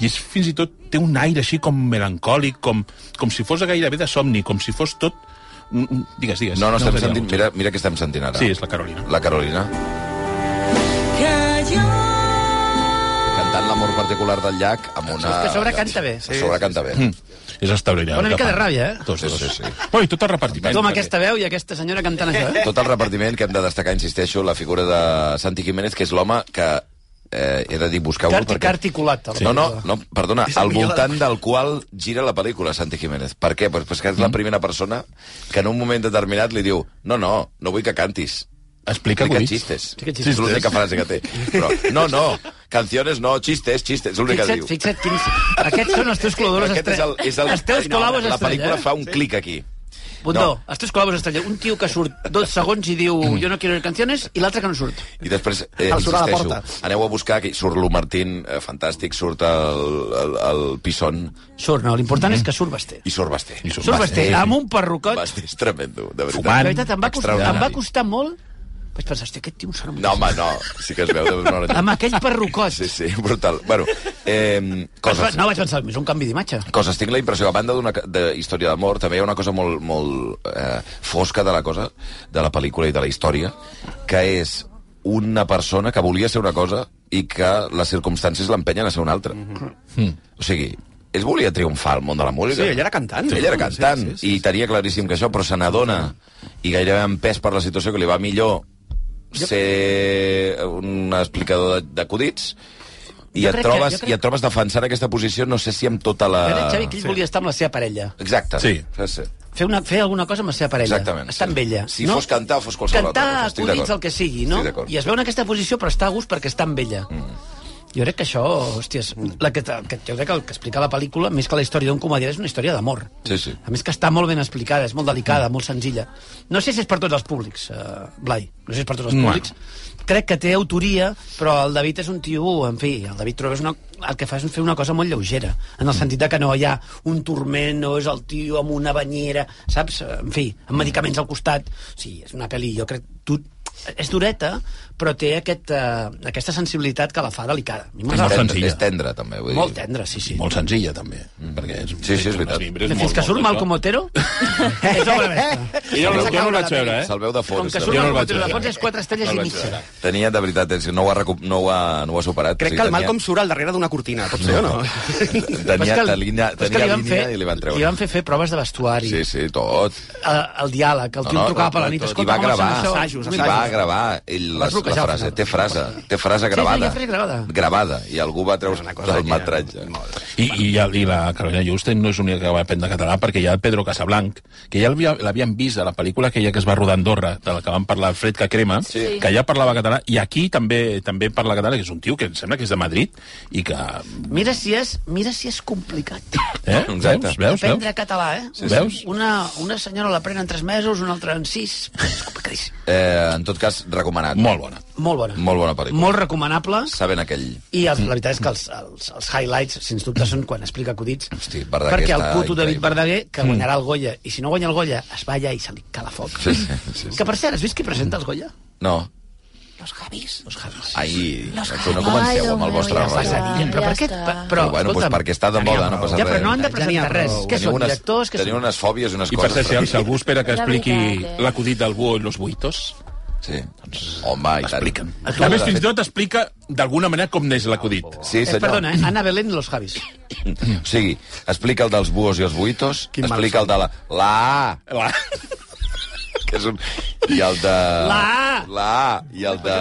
Speaker 1: I és, fins i tot té un aire així com melancòlic, com, com si fos gairebé de somni, com si fos tot... un- un- Digues, digues.
Speaker 5: No, no, estem
Speaker 1: us havia
Speaker 5: sentint...
Speaker 1: dit.
Speaker 5: Mira, mira què estem sentint ara.
Speaker 1: Sí, és la Carolina.
Speaker 5: La Carolina. Cantant l'amor particular del llac amb una...
Speaker 2: és que a sobre canta bé.
Speaker 5: A sobre canta bé.
Speaker 1: Mm, És establirà.
Speaker 2: Una mica de ràbia, eh?
Speaker 1: Tots,
Speaker 5: Sí,
Speaker 1: dos.
Speaker 5: sí, sí.
Speaker 1: Bueno, i tot el repartiment.
Speaker 2: Tu amb aquesta veu i aquesta senyora cantant això, eh?
Speaker 5: Tot el repartiment que hem de destacar, insisteixo, la figura de Santi Jiménez, que és l'home que eh, he de dir, busqueu-lo
Speaker 2: Carti, carti culat. a la
Speaker 5: No, no,
Speaker 2: pel·lícula.
Speaker 5: no, perdona,
Speaker 3: el
Speaker 5: al
Speaker 3: millor
Speaker 5: voltant del qual gira la pel·lícula, Santi Jiménez. Per què? Pues, pues que és la primera persona que en un moment determinat li diu no, no, no vull que cantis.
Speaker 1: Explica,
Speaker 5: Explica
Speaker 1: Explica
Speaker 5: xistes.
Speaker 2: Explica
Speaker 5: És l'única frase que té. Però, no, no, canciones no, xistes, xistes, és l'únic que
Speaker 2: Fixa't,
Speaker 5: diu.
Speaker 2: fixa't quins... Aquests són els teus col·laboradors
Speaker 5: Aquest és el,
Speaker 2: estrella.
Speaker 5: és el,
Speaker 2: Els teus
Speaker 5: no,
Speaker 2: col·laboradors
Speaker 5: la
Speaker 2: estrella. eh?
Speaker 5: pel·lícula fa un clic aquí.
Speaker 2: Bundó,
Speaker 5: No. Mm.
Speaker 2: no. els tres col·labos estrella. Un tio que surt dos segons i diu jo no quiero ir canciones i l'altre que no surt.
Speaker 5: I després, eh,
Speaker 3: Al surt a la
Speaker 5: insisteixo,
Speaker 3: porta.
Speaker 5: aneu a buscar, que hi surt l'U Martín, eh, fantàstic, surt el, el, el Pisson
Speaker 2: Surt, no, l'important és que surt Basté.
Speaker 5: Mm-hmm. i surt Basté.
Speaker 1: I surt
Speaker 2: Surt Basté,
Speaker 1: Basté.
Speaker 2: amb un perrucot.
Speaker 5: Basté és tremendo, de veritat.
Speaker 1: Fumant.
Speaker 2: La veritat, em va, costar, em va
Speaker 5: Extraordinari.
Speaker 2: costar molt. Vaig pensar, hòstia, aquest tio em sona molt.
Speaker 5: No, home, no, sí que es veu de veure
Speaker 2: Amb aquell perrucot.
Speaker 5: Sí, sí, brutal. Bueno, eh,
Speaker 2: Vaig
Speaker 5: coses...
Speaker 2: pe- No, vaig pensar, és un canvi d'imatge.
Speaker 5: coses. Tinc la impressió, a banda d'una ca- de història d'amor, també hi ha una cosa molt, molt eh, fosca de la cosa, de la pel·lícula i de la història, que és una persona que volia ser una cosa i que les circumstàncies l'empenyen a ser una altra. Mm -hmm. O sigui, ell volia triomfar al món de la música.
Speaker 3: Sí, ell era cantant.
Speaker 5: Ell era cantant, sí, sí, sí, i tenia claríssim que això, però se n'adona, i gairebé empès per la situació que li va millor ser un explicador de- d'acudits, i
Speaker 2: Jo
Speaker 5: et,
Speaker 2: crec que- jo
Speaker 5: trobes,
Speaker 2: crec-
Speaker 5: i et trobes defensant aquesta posició, no sé si amb tota la...
Speaker 2: Crec, Xavi, que ell volia estar amb la seva parella.
Speaker 5: Exacte.
Speaker 1: Sí.
Speaker 5: sí, sí.
Speaker 2: Fer, una, fer alguna cosa amb la seva parella.
Speaker 5: Exactament.
Speaker 2: Estar amb
Speaker 5: sí.
Speaker 2: ella.
Speaker 5: Si
Speaker 2: no?
Speaker 5: fos cantar, fos qualsevol
Speaker 2: Cantar,
Speaker 5: altra cosa. Estic
Speaker 2: acudits,
Speaker 5: d'acord.
Speaker 2: el que sigui, no?
Speaker 5: Estic d'acord.
Speaker 2: I es veu en aquesta posició, però està a gust perquè està amb ella. Mm. Jo crec que això, hòsties, la que, que, jo crec que el que explica la pel·lícula, més que la història d'un comediant, és una història d'amor.
Speaker 5: Sí, sí.
Speaker 2: A més que està molt ben explicada, és molt delicada, molt senzilla. No sé si és per tots els públics, uh, Blai, no sé si és per tots els
Speaker 1: Bueno.
Speaker 2: públics. Crec que té autoria, però el David és un tio, en fi, el David Trueba és una, el que fa és fer una cosa molt lleugera, en
Speaker 1: Mm.
Speaker 2: el sentit de que no hi ha un turment, no és el tio amb una banyera, saps? En fi,
Speaker 1: Mm.
Speaker 2: amb medicaments al costat. Sí, és una pel·li, jo crec... Tu, és dureta, però té aquest, uh, aquesta sensibilitat que la fa delicada. A mi
Speaker 1: És molt
Speaker 2: m'agrada.
Speaker 5: Tendre-
Speaker 1: senzilla.
Speaker 5: És tendre, també. Vull dir.
Speaker 2: Molt tendre, sí, sí.
Speaker 1: Molt senzilla, també. Mm. Perquè és,
Speaker 5: Sí, sí, és veritat.
Speaker 2: Fins que surt Malcom Otero, és obra mestra.
Speaker 1: Jo, no- jo no el vaig veure, eh?
Speaker 5: Se'l veu de fons.
Speaker 2: Com que
Speaker 5: de
Speaker 2: surt
Speaker 1: no el
Speaker 5: veritat.
Speaker 2: el
Speaker 1: vaig
Speaker 2: Montero de
Speaker 1: veure.
Speaker 2: Fons és quatre estrelles
Speaker 1: No el
Speaker 2: i
Speaker 1: vaig
Speaker 2: mitja.
Speaker 1: veure.
Speaker 5: Tenia, de veritat, és que no ho ha, recu- no ho ha, no ho ha superat.
Speaker 3: Crec
Speaker 5: Sí,
Speaker 3: que el
Speaker 5: tenia-
Speaker 3: Malcolm surt al darrere d'una cortina, potser, o no?
Speaker 2: Però és
Speaker 5: Tenia,
Speaker 2: que
Speaker 5: tenia,
Speaker 2: el-
Speaker 5: línia,
Speaker 2: però és que
Speaker 5: tenia
Speaker 2: van
Speaker 5: línia
Speaker 2: fer-
Speaker 5: i li van treure.
Speaker 2: Li van fer fer proves de vestuari,
Speaker 5: Sí, sí, tot.
Speaker 2: el, el diàleg, el tio no, no, trucava per la nit,
Speaker 5: tot. I
Speaker 2: escolta,
Speaker 5: va
Speaker 2: com
Speaker 5: gravar,
Speaker 2: això,
Speaker 3: assajos,
Speaker 5: i
Speaker 3: assajos.
Speaker 5: va gravar ell la,
Speaker 2: Vas bloquejar
Speaker 5: la
Speaker 2: al
Speaker 5: frase,
Speaker 2: final.
Speaker 5: té frase, té frase
Speaker 2: sí, hi ha
Speaker 5: gravada.
Speaker 2: frase gravada.
Speaker 5: Gravada, i algú va treure
Speaker 3: una cosa
Speaker 5: del
Speaker 3: que-
Speaker 5: metratge.
Speaker 1: I, i, el- i la Carolina Justen no és l'única que va aprendre català, perquè hi ha el Pedro Casablanc, que ja l'havia- l'havien vist a la pel·lícula aquella que es va rodar a Andorra, de la que van parlar el Fred que crema,
Speaker 6: Sí.
Speaker 1: que ja parlava català, i aquí també també parla català, que és un tio que em sembla que és de Madrid, i que...
Speaker 2: Mira si és, mira si és complicat.
Speaker 1: Eh?
Speaker 5: Exacte.
Speaker 1: Veus? Veus?
Speaker 2: Aprendre
Speaker 1: Veus?
Speaker 2: català, eh?
Speaker 1: Sí, sí. Veus?
Speaker 2: Una, una senyora l'aprèn en 3 mesos, una altra en 6. És complicadíssim.
Speaker 5: Eh, en tot cas, recomanat.
Speaker 1: Molt bona.
Speaker 2: Molt bona.
Speaker 5: Molt bona pel·lícula.
Speaker 2: Molt recomanable.
Speaker 5: Saben aquell...
Speaker 2: I els, la veritat és que els, els, els highlights, sens dubte, són quan explica acudits.
Speaker 5: Hosti, Verdaguer
Speaker 2: perquè el
Speaker 5: està
Speaker 2: puto David
Speaker 5: increïble. Mm.
Speaker 2: Verdaguer, que guanyarà el Goya, i si no guanya el Goya, es va allà i se li cala foc.
Speaker 5: Sí, sí, sí, sí.
Speaker 2: Que, per cert, has vist qui presenta els Goya?
Speaker 5: No,
Speaker 2: Los Javis. Los Javis.
Speaker 5: ahir... No comenceu amb el vostre
Speaker 6: Ai, Déu
Speaker 5: rotllo.
Speaker 6: meu,
Speaker 2: Passa
Speaker 6: Ah,
Speaker 2: dient, però
Speaker 6: ja
Speaker 2: per què?
Speaker 6: està.
Speaker 2: per- Però,
Speaker 5: Però, bueno, doncs
Speaker 2: escolta'm,
Speaker 5: perquè està de moda, no passa
Speaker 2: ja, però
Speaker 5: res.
Speaker 2: no han de
Speaker 3: Ja n'hi ha
Speaker 2: presentar res.
Speaker 3: prou.
Speaker 2: Què
Speaker 5: Teniu
Speaker 2: són,
Speaker 5: unes-
Speaker 2: directors? Què
Speaker 5: Teniu
Speaker 2: són?
Speaker 5: unes fòbies i unes
Speaker 1: I per
Speaker 5: coses.
Speaker 1: cert, si,
Speaker 5: però-
Speaker 1: si algú espera que
Speaker 6: La
Speaker 1: expliqui
Speaker 6: veritat, eh?
Speaker 1: l'acudit del búho i los buitos,
Speaker 5: Sí.
Speaker 1: Doncs,
Speaker 5: Home, i tant.
Speaker 1: explica'm. A més, fins i tot explica d'alguna manera com neix l'acudit.
Speaker 5: Sí,
Speaker 2: Eh,
Speaker 5: senyor.
Speaker 2: perdona, eh? Ana Belén i Los Javis.
Speaker 5: O sigui, explica el dels buos i els buitos,
Speaker 3: Quin mal
Speaker 5: explica el de la... La A,
Speaker 1: La...
Speaker 5: que és un... I el de...
Speaker 2: La A.
Speaker 5: La A. I el, de...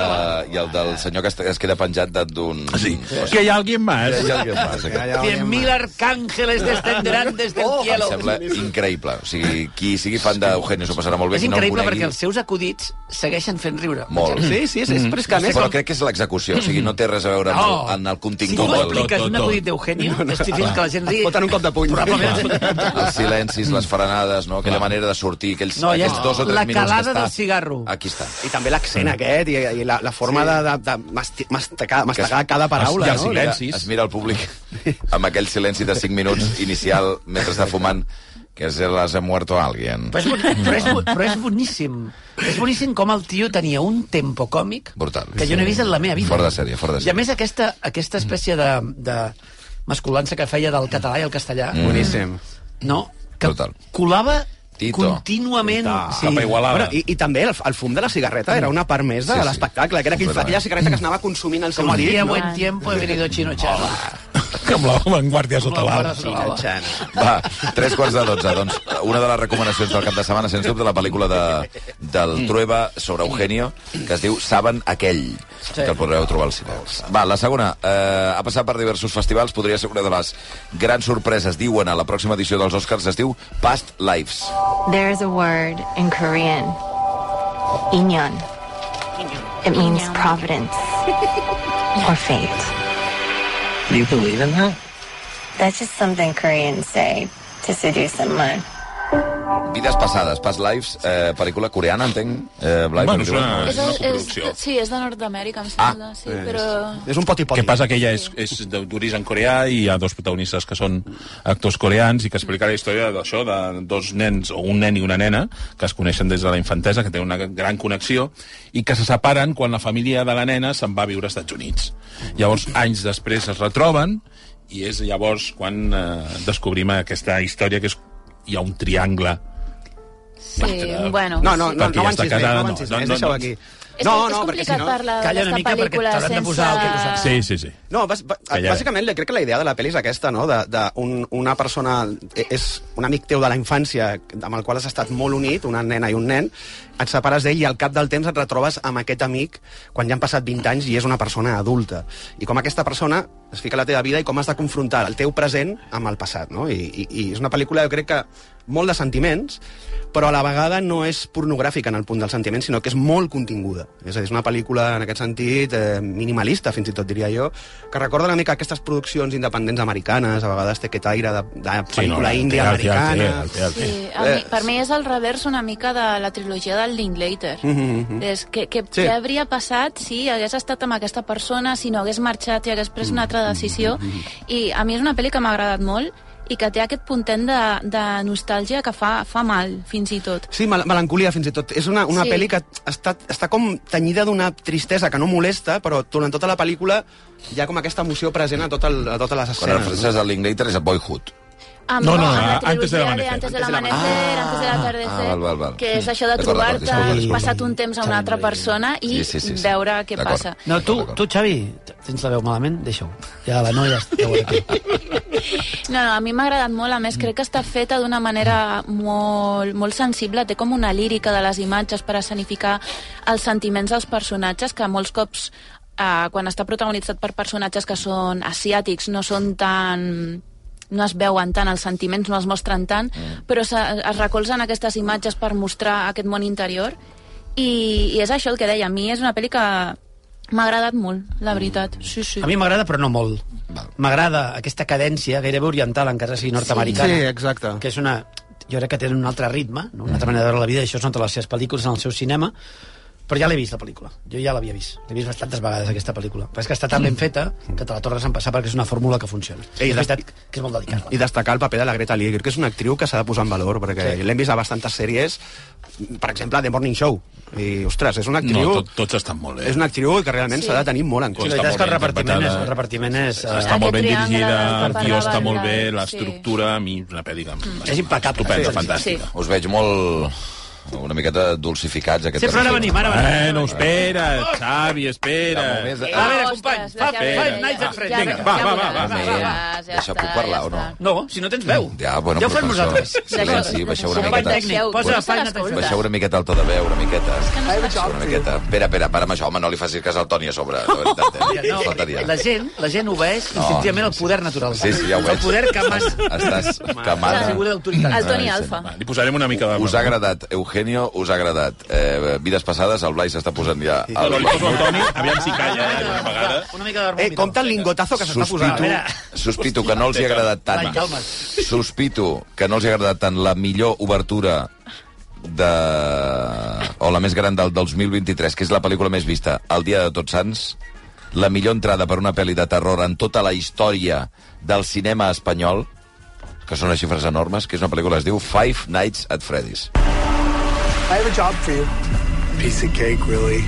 Speaker 5: I el del senyor que es- es queda penjat de- d'un...
Speaker 1: Ah, Sí. Que hi ha algú més.
Speaker 5: Ja el que passa, que...
Speaker 2: 100.000 arcángeles descenderán desde el
Speaker 5: Oh, Em
Speaker 2: cielo.
Speaker 5: sembla increïble. O sigui, qui sigui fan d'Eugenio s'ho passarà molt bé.
Speaker 2: És
Speaker 5: qui no el
Speaker 2: increïble
Speaker 5: conegui,
Speaker 2: perquè els seus acudits segueixen fent riure.
Speaker 5: Molt.
Speaker 3: Sí, sí, sí, però és que a més...
Speaker 5: Mm. Però
Speaker 3: com-
Speaker 5: crec que és l'execució, o sigui, no té res a veure en el, en el
Speaker 2: Si
Speaker 5: contingut.
Speaker 2: tu
Speaker 5: del-
Speaker 2: expliques
Speaker 1: Tot,
Speaker 2: un
Speaker 1: tot,
Speaker 2: acudit d'Eugenio, estic fent que la gent
Speaker 3: Et
Speaker 2: rigui.
Speaker 3: foten un cop de puny.
Speaker 5: els silencis, les frenades, no? aquella manera de sortir, aquells,
Speaker 2: No, ja
Speaker 5: aquells
Speaker 2: és
Speaker 5: dos o tres
Speaker 2: la
Speaker 5: minuts
Speaker 2: calada
Speaker 5: que està...
Speaker 2: del cigarro.
Speaker 5: Aquí està.
Speaker 3: I també l'accent
Speaker 1: Mm.
Speaker 3: aquest i, i la, la forma sí. de, de, de masti- mastegar, mastegar cada paraula,
Speaker 1: I els
Speaker 3: no?
Speaker 1: silencis.
Speaker 5: Es mira el públic amb aquell silenci de 5 minuts inicial mentre està fumant que se les ha muerto alguien.
Speaker 2: Però és, boni- però, és, bo- però és boníssim. És boníssim com el tio tenia un tempo còmic
Speaker 5: Brutal.
Speaker 2: que jo no he vist en la meva vida.
Speaker 5: Fora de sèrie, fora de sèrie.
Speaker 2: I a més aquesta, aquesta espècie de, de masculança que feia del català i el castellà,
Speaker 3: Boníssim.
Speaker 1: Mm.
Speaker 2: no? que
Speaker 5: Mm. Brutal.
Speaker 2: colava
Speaker 5: Tito.
Speaker 2: contínuament...
Speaker 1: Cap a Igualada.
Speaker 3: Bueno, i, I també el, el fum de la cigarreta era una part més de
Speaker 5: Sí, sí.
Speaker 3: sí, l'espectacle, que era aquell,
Speaker 5: Completament.
Speaker 3: aquella cigarreta que es anava consumint al seu
Speaker 2: Com
Speaker 3: marit,
Speaker 2: diria
Speaker 3: no?
Speaker 2: buen tiempo, he venido chino chava.
Speaker 1: Amb la vanguardia sota l'ala.
Speaker 3: Xan.
Speaker 5: Va, tres quarts de dotze. Doncs una de les recomanacions del cap de setmana, sens dubte, la pel·lícula de, del
Speaker 2: Mm.
Speaker 5: Trueba sobre Eugenio, que es diu Saben aquell, que el podreu trobar al cinema. Va, la segona. Eh, ha passat per diversos festivals, podria ser una de les grans sorpreses, diuen a la pròxima edició dels Oscars, es diu Past Lives.
Speaker 9: There's a word in Korean, inyon. It means providence or fate.
Speaker 10: Do you believe in that?
Speaker 9: That's just something Koreans say to seduce someone.
Speaker 5: Vides passades, Past Lives, eh, pel·lícula coreana, entenc? Eh, Blai,
Speaker 1: Bueno,
Speaker 5: com
Speaker 1: és
Speaker 5: diuen?
Speaker 1: una-
Speaker 6: És, és, sí, és de Nord-Amèrica, em sembla, ah, sí, però...
Speaker 3: És un poti
Speaker 1: Què passa que ella és, és de- d'origen coreà i hi ha dos protagonistes que són actors coreans i que explica la història d'això, de dos nens, o un nen i una nena, que es coneixen des de la infantesa, que tenen una gran connexió, i que se separen quan la família de la nena se'n va a viure als Estats Units. Llavors, anys després es retroben i és llavors quan eh, descobrim aquesta història que és hi ha un triangle
Speaker 6: Sí, bueno...
Speaker 3: No, no,
Speaker 6: sí.
Speaker 3: no,
Speaker 1: Perquè ja
Speaker 3: no avancis
Speaker 1: està
Speaker 3: més,
Speaker 1: casada,
Speaker 3: no
Speaker 1: no,
Speaker 3: avancis
Speaker 1: no,
Speaker 3: més,
Speaker 1: no,
Speaker 3: deixa-ho
Speaker 1: no.
Speaker 3: aquí.
Speaker 6: És,
Speaker 3: No,
Speaker 6: que és
Speaker 3: no, perquè si
Speaker 6: complicat
Speaker 3: no...
Speaker 6: parlar
Speaker 2: Calla una
Speaker 6: d'esta
Speaker 2: mica perquè
Speaker 6: pel·lícula
Speaker 2: t'hauran de
Speaker 6: sense...
Speaker 2: posar el que tu saps.
Speaker 1: Sí, sí, sí.
Speaker 3: No, bas, ba,
Speaker 1: Calla, eh?
Speaker 3: bàsicament crec que la idea de la pel·li és aquesta, no? De, de un, una persona, eh, és un amic teu de la infància amb el qual has estat molt unit, una nena i un nen, et separes d'ell i al cap del temps et retrobes amb aquest amic quan ja han passat 20 anys i és una persona adulta. I com aquesta persona es fica a la teva vida i com has de confrontar el teu present amb el passat, no? I, i, i és una pel·lícula, jo crec que molt de sentiments, però a la vegada no és pornogràfica en el punt del sentiment, sinó que és molt continguda. És a dir, és una pel·lícula, en aquest sentit, eh, minimalista, fins i tot diria jo, que recorda una mica aquestes produccions independents americanes, a vegades té aquest aire de, de pel·lícula sí, no, índia americana...
Speaker 6: Sí, a mi, per mi és el revers una mica de la trilogia del Linklater. És que, que,
Speaker 3: Sí.
Speaker 6: sí. què hauria passat si hagués estat amb aquesta persona, si no hagués marxat i hagués pres una altra decisió. I a mi és una pel·li que m'ha agradat molt i que té aquest puntent de, de nostàlgia que fa, fa mal, fins i tot.
Speaker 3: Sí, mel melancolia, fins i tot. És una, una
Speaker 6: Sí.
Speaker 3: sí. pel·li que està, està com tenyida d'una tristesa que no molesta, però durant tota la pel·lícula hi ha com aquesta emoció present a, tot el, a totes les
Speaker 5: Quan el
Speaker 3: escenes.
Speaker 5: francès de Linklater és el Boyhood.
Speaker 6: Amb,
Speaker 1: No, no,
Speaker 6: amb la
Speaker 1: antes
Speaker 6: trilogia
Speaker 1: del amanecer.
Speaker 6: Antes de l'amanecer, antes de l'atardecer,
Speaker 5: Ah, val, val, val.
Speaker 6: que és això de
Speaker 5: D'acord, d'acord,
Speaker 6: trobar-te,
Speaker 5: disculpa,
Speaker 6: has
Speaker 5: disculpa.
Speaker 6: passat un temps a una altra persona i
Speaker 5: Sí, sí, sí, sí.
Speaker 6: veure què
Speaker 5: D'acord.
Speaker 6: passa.
Speaker 2: No, tu,
Speaker 5: D'acord,
Speaker 2: tu,
Speaker 5: d'acord.
Speaker 2: Xavi, t- tens la veu malament? Deixa-ho. Ja la noia està aquí.
Speaker 6: No, no, a mi m'ha agradat molt, a més crec que està feta d'una manera molt, molt sensible, té com una lírica de les imatges per escenificar els sentiments dels personatges, que molts cops eh, quan està protagonitzat per personatges que són asiàtics no són tan no es veuen tant, els sentiments no es mostren tant, mm. però se, es recolzen aquestes imatges per mostrar aquest món interior i, i és això el que deia, a mi és una pel·li que m'ha agradat molt, la veritat. Sí, sí.
Speaker 2: Mm. A mi m'agrada, però no molt. M'agrada aquesta cadència gairebé oriental, encara sigui nord-americana.
Speaker 3: Sí, exacte.
Speaker 2: Que és una... Jo crec que tenen un altre ritme, no? una altra
Speaker 5: Mm.
Speaker 2: manera de veure la vida, i això són de les seves pel·lícules en el seu cinema, però ja l'he vist, la pel·lícula. Jo ja l'havia vist. L'he vist bastantes vegades, aquesta pel·lícula. Però és que està tan ben feta que te la tornes a empassar perquè és una fórmula que funciona.
Speaker 3: Ei,
Speaker 2: I és
Speaker 3: des-
Speaker 2: veritat que és molt delicada.
Speaker 3: I destacar el paper de la Greta Lee, crec que és una actriu que s'ha de posar en valor, perquè
Speaker 2: Sí.
Speaker 3: sí. l'hem vist a bastantes sèries, per exemple, The Morning Show. I, ostres, és una actriu...
Speaker 1: No, tot, tots estan molt bé.
Speaker 3: És una actriu que realment s'ha sí. de tenir molt en
Speaker 2: Sí,
Speaker 3: compte.
Speaker 2: la veritat és que el
Speaker 1: molt ben
Speaker 2: repartiment és...
Speaker 1: interpretada.
Speaker 2: El repartiment és, eh,
Speaker 1: està molt ben
Speaker 6: Aquest triangle
Speaker 1: dirigida, el
Speaker 6: del que
Speaker 1: guió
Speaker 6: parlava
Speaker 1: està
Speaker 6: el
Speaker 1: molt bé,
Speaker 6: Blai,
Speaker 1: l'estructura, a mi una pel·li que...
Speaker 6: Mm.
Speaker 1: em sembla
Speaker 2: És impecable.
Speaker 1: Estupenda,
Speaker 2: Sí, sí,
Speaker 1: fantàstica.
Speaker 5: Us veig molt... una miqueta dulcificats. Aquest
Speaker 2: Sí, però ara venim, ara venim.
Speaker 1: Bueno, Eh, espera, Xavi, espera.
Speaker 5: Ja, molt més-
Speaker 2: A veure, company,
Speaker 6: Ostres,
Speaker 2: fa
Speaker 6: ja
Speaker 2: Five
Speaker 6: veuràs,
Speaker 2: Nights at Freddy's.
Speaker 6: ja
Speaker 1: Vinga,
Speaker 6: veuràs,
Speaker 1: va,
Speaker 6: ja
Speaker 1: va, va, va,
Speaker 6: veuràs, ja
Speaker 1: va.
Speaker 6: veuràs, ja
Speaker 5: Deixa,
Speaker 6: està,
Speaker 5: puc parlar
Speaker 6: ja
Speaker 5: o no?
Speaker 6: està.
Speaker 2: No, si no tens veu.
Speaker 5: Ja, bueno,
Speaker 2: ja ho fem
Speaker 5: però això-
Speaker 2: nosaltres.
Speaker 5: Silenci, baixeu una
Speaker 6: Deixeu-
Speaker 5: miqueta.
Speaker 6: deixeu-
Speaker 2: Posa
Speaker 6: deixeu-
Speaker 2: Final Fantasy.
Speaker 5: Baixeu una miqueta alta de veu, una miqueta. Baixeu una miqueta. Espera, espera, para amb això, home, no li facis cas al Toni a sobre, de veritat. Eh?
Speaker 2: No,
Speaker 5: Faltaria.
Speaker 2: la gent, la gent obeeix instintivament el poder natural.
Speaker 5: Sí, sí, ja ho veig.
Speaker 2: El poder que mas...
Speaker 5: Estàs
Speaker 2: La
Speaker 5: camada.
Speaker 2: figura d'autoritat.
Speaker 6: El Toni
Speaker 5: Ah, sí.
Speaker 6: Alfa.
Speaker 1: Va, li posarem una mica de...
Speaker 5: Us ha agradat, Eugenio, us ha agradat. Eh, vides passades, el Blai s'està posant ja...
Speaker 1: No, no,
Speaker 5: Al...
Speaker 1: li poso al Toni, aviam si calla eh, d'una vegada.
Speaker 2: Una mica d'harmònica.
Speaker 3: Eh, compta el lingotazo que s'està posant.
Speaker 5: Sospito, sospito que no els hi ha agradat
Speaker 2: Blai,
Speaker 5: tant.
Speaker 2: calma't.
Speaker 5: Sospito que no els hi ha agradat tant la millor obertura de... o la més gran del 2023, que és la pel·lícula més vista, El dia de Tots Sants, la millor entrada per una pel·li de terror en tota la història del cinema espanyol, que són les xifres enormes, que és una pel·lícula que es diu Five Nights at Freddy's.
Speaker 10: I have a job for you. Piece of cake, Willie.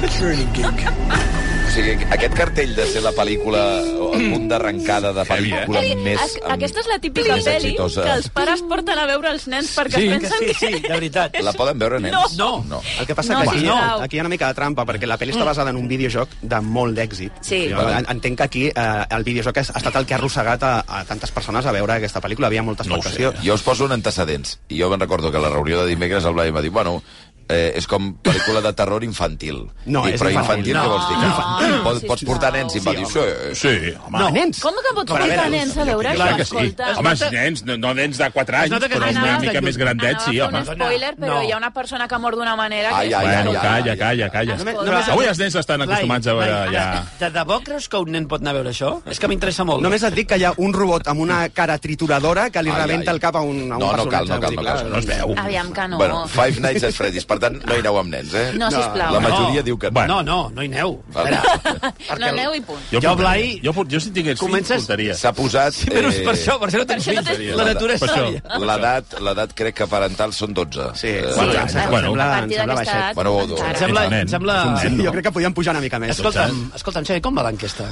Speaker 10: Security gig.
Speaker 5: O sigui, aquest cartell de ser la pel·lícula o el punt d'arrangada de pel·lícula
Speaker 6: Eli,
Speaker 5: més...
Speaker 6: ac- Aquesta és la típica
Speaker 5: més
Speaker 6: pel·li
Speaker 5: exitosa.
Speaker 6: que els pares porten a veure els nens perquè
Speaker 1: Sí,
Speaker 6: es
Speaker 1: que
Speaker 6: pensen
Speaker 2: Sí,
Speaker 6: que...
Speaker 2: sí, de veritat.
Speaker 5: La poden veure, nens?
Speaker 2: No.
Speaker 5: no.
Speaker 3: El que passa
Speaker 6: No,
Speaker 3: no, que aquí,
Speaker 6: sisplau.
Speaker 3: no, aquí hi ha una mica de trampa, perquè la pel·li està basada en un videojoc de molt d'èxit.
Speaker 6: Sí.
Speaker 3: Jo en- entenc que aquí eh, el videojoc ha ha estat el que ha arrossegat a, a tantes persones a veure aquesta pel·lícula. Havia molta
Speaker 2: eh.
Speaker 1: No ho sé.
Speaker 3: expectació.
Speaker 5: Jo us poso un antecedents. I jo me'n recordo que a la reunió de dimecres el Blai em va dir, bueno, eh, és com pel·lícula de terror infantil.
Speaker 3: No,
Speaker 5: Dic,
Speaker 3: és
Speaker 5: però
Speaker 3: infantil.
Speaker 5: infantil, què vols dir? Que...
Speaker 6: No,
Speaker 5: pots,
Speaker 6: sisplau.
Speaker 5: pots portar nens i va dir... Sí,
Speaker 1: Sí, home.
Speaker 3: No, nens.
Speaker 6: Com que pots
Speaker 2: Però a
Speaker 6: portar
Speaker 2: veure,
Speaker 6: nens a veure això?
Speaker 1: Clar que sí.
Speaker 6: Escolta.
Speaker 1: Home, els nens, no, no nens de 4 anys,
Speaker 2: nota que
Speaker 1: però
Speaker 2: no
Speaker 1: una
Speaker 2: anava
Speaker 1: mica
Speaker 2: de
Speaker 1: més
Speaker 2: lluny.
Speaker 1: grandets, sí,
Speaker 6: Anava a fer
Speaker 1: home.
Speaker 6: un spoiler, però
Speaker 2: No.
Speaker 6: hi ha una persona que mor d'una manera que...
Speaker 5: Ai, ai,
Speaker 1: Bueno,
Speaker 5: ai, ai.
Speaker 1: calla, calla, calla.
Speaker 6: Només-
Speaker 1: Només,
Speaker 6: només-
Speaker 1: Avui els nens estan acostumats a veure
Speaker 2: Blai,
Speaker 1: ja...
Speaker 2: De debò creus que un nen pot anar a veure això? És que m'interessa molt.
Speaker 3: Només et dic que hi ha un robot amb una cara trituradora que li
Speaker 5: Ai,
Speaker 3: rebenta
Speaker 5: ai.
Speaker 3: el cap a un, a un
Speaker 5: No, no cal, no cal,
Speaker 3: personatge.
Speaker 5: no
Speaker 3: vull dir, clar,
Speaker 5: cal,
Speaker 1: No es veu.
Speaker 6: Aviam que no.
Speaker 5: Bueno, Five Nights at Freddy's, per tant, no hi aneu amb nens, eh?
Speaker 6: No, sisplau.
Speaker 5: La majoria
Speaker 2: No.
Speaker 5: diu que...
Speaker 2: No, no, no hi aneu.
Speaker 5: Val.
Speaker 2: Espera.
Speaker 6: No aneu i punt.
Speaker 2: Jo,
Speaker 1: portaria-
Speaker 2: Blai,
Speaker 1: Jo, port- jo si tingués fills,
Speaker 2: comences-
Speaker 1: portaria.
Speaker 5: S'ha posat... eh,
Speaker 2: Sí, però és per
Speaker 3: Eh,
Speaker 2: això, per això no tens
Speaker 6: Per això no
Speaker 2: fills.
Speaker 6: tens-
Speaker 2: La natura és
Speaker 1: Per això.
Speaker 2: sàvia.
Speaker 5: L'edat, l'edat crec que parental són 12.
Speaker 3: Sí,
Speaker 5: Eh,
Speaker 3: sí,
Speaker 1: ja,
Speaker 3: em sembla-
Speaker 1: bueno.
Speaker 3: em sembla-
Speaker 6: a
Speaker 3: em
Speaker 6: partir
Speaker 3: sembla
Speaker 6: d'aquesta
Speaker 3: baixet.
Speaker 6: edat...
Speaker 5: Bueno, o dos.
Speaker 6: encara.
Speaker 2: Em sembla...
Speaker 1: Ets un nen,
Speaker 2: Em sembla...
Speaker 1: ets un nen,
Speaker 3: Jo crec que podíem pujar una mica més.
Speaker 2: Escolta'm, escolta'm, Xavi, com va l'enquesta?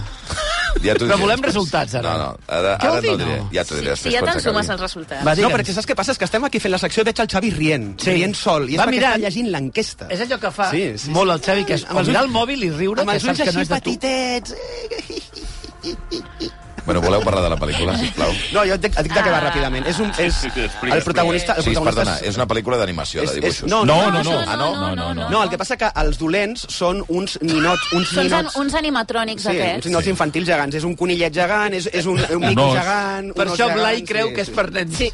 Speaker 5: Ja t'ho
Speaker 2: Però
Speaker 5: diré
Speaker 2: volem
Speaker 5: després.
Speaker 2: resultats, ara.
Speaker 5: No, no, ara,
Speaker 2: Què vol
Speaker 5: ara
Speaker 2: dir,
Speaker 5: no diré.
Speaker 2: no?
Speaker 5: Ja t'ho diré
Speaker 6: Si
Speaker 5: després.
Speaker 6: ja
Speaker 5: quan
Speaker 6: te'n sumes
Speaker 5: s'acabi.
Speaker 6: als resultats.
Speaker 2: Va,
Speaker 3: No,
Speaker 2: digue'ns.
Speaker 3: perquè saps què passa? És que estem aquí fent la secció i veig el Xavi rient.
Speaker 2: Sí.
Speaker 3: Rient sol. I és
Speaker 2: Va
Speaker 3: perquè
Speaker 2: mirant.
Speaker 3: està llegint l'enquesta.
Speaker 2: És allò que fa
Speaker 3: Sí, sí, sí.
Speaker 2: molt el Xavi, que és
Speaker 3: Amb
Speaker 2: o
Speaker 3: els
Speaker 2: mirar
Speaker 3: ulls-
Speaker 2: el mòbil i riure,
Speaker 3: Amb
Speaker 2: que
Speaker 3: els ulls
Speaker 2: saps que
Speaker 3: així
Speaker 2: no és de tu.
Speaker 3: petitets. eh.
Speaker 5: Bueno, voleu parlar de la pel·lícula, sisplau?
Speaker 3: No, jo et dic, et dic de què va ràpidament. És un, és
Speaker 1: sí, sí, explica,
Speaker 3: el protagonista... El
Speaker 5: Sí,
Speaker 3: protagonista
Speaker 5: perdona, és una pel·lícula d'animació, de
Speaker 3: És- és-
Speaker 5: dibuixos.
Speaker 3: no,
Speaker 1: No, no, no.
Speaker 6: això
Speaker 5: Ah, no?
Speaker 6: no, no,
Speaker 3: No, el que passa que els dolents són uns ninots... Uns
Speaker 6: Són an-
Speaker 3: ninots...
Speaker 6: uns animatrònics,
Speaker 3: Sí, uns
Speaker 6: aquests.
Speaker 3: ninots infantils gegants. És un conillet gegant, és, és un, un mico
Speaker 1: os.
Speaker 3: gegant...
Speaker 2: Per
Speaker 3: un os
Speaker 2: això Blai
Speaker 3: gegant,
Speaker 2: creu
Speaker 3: sí,
Speaker 2: que és
Speaker 3: sí.
Speaker 2: per nens.
Speaker 6: Sí.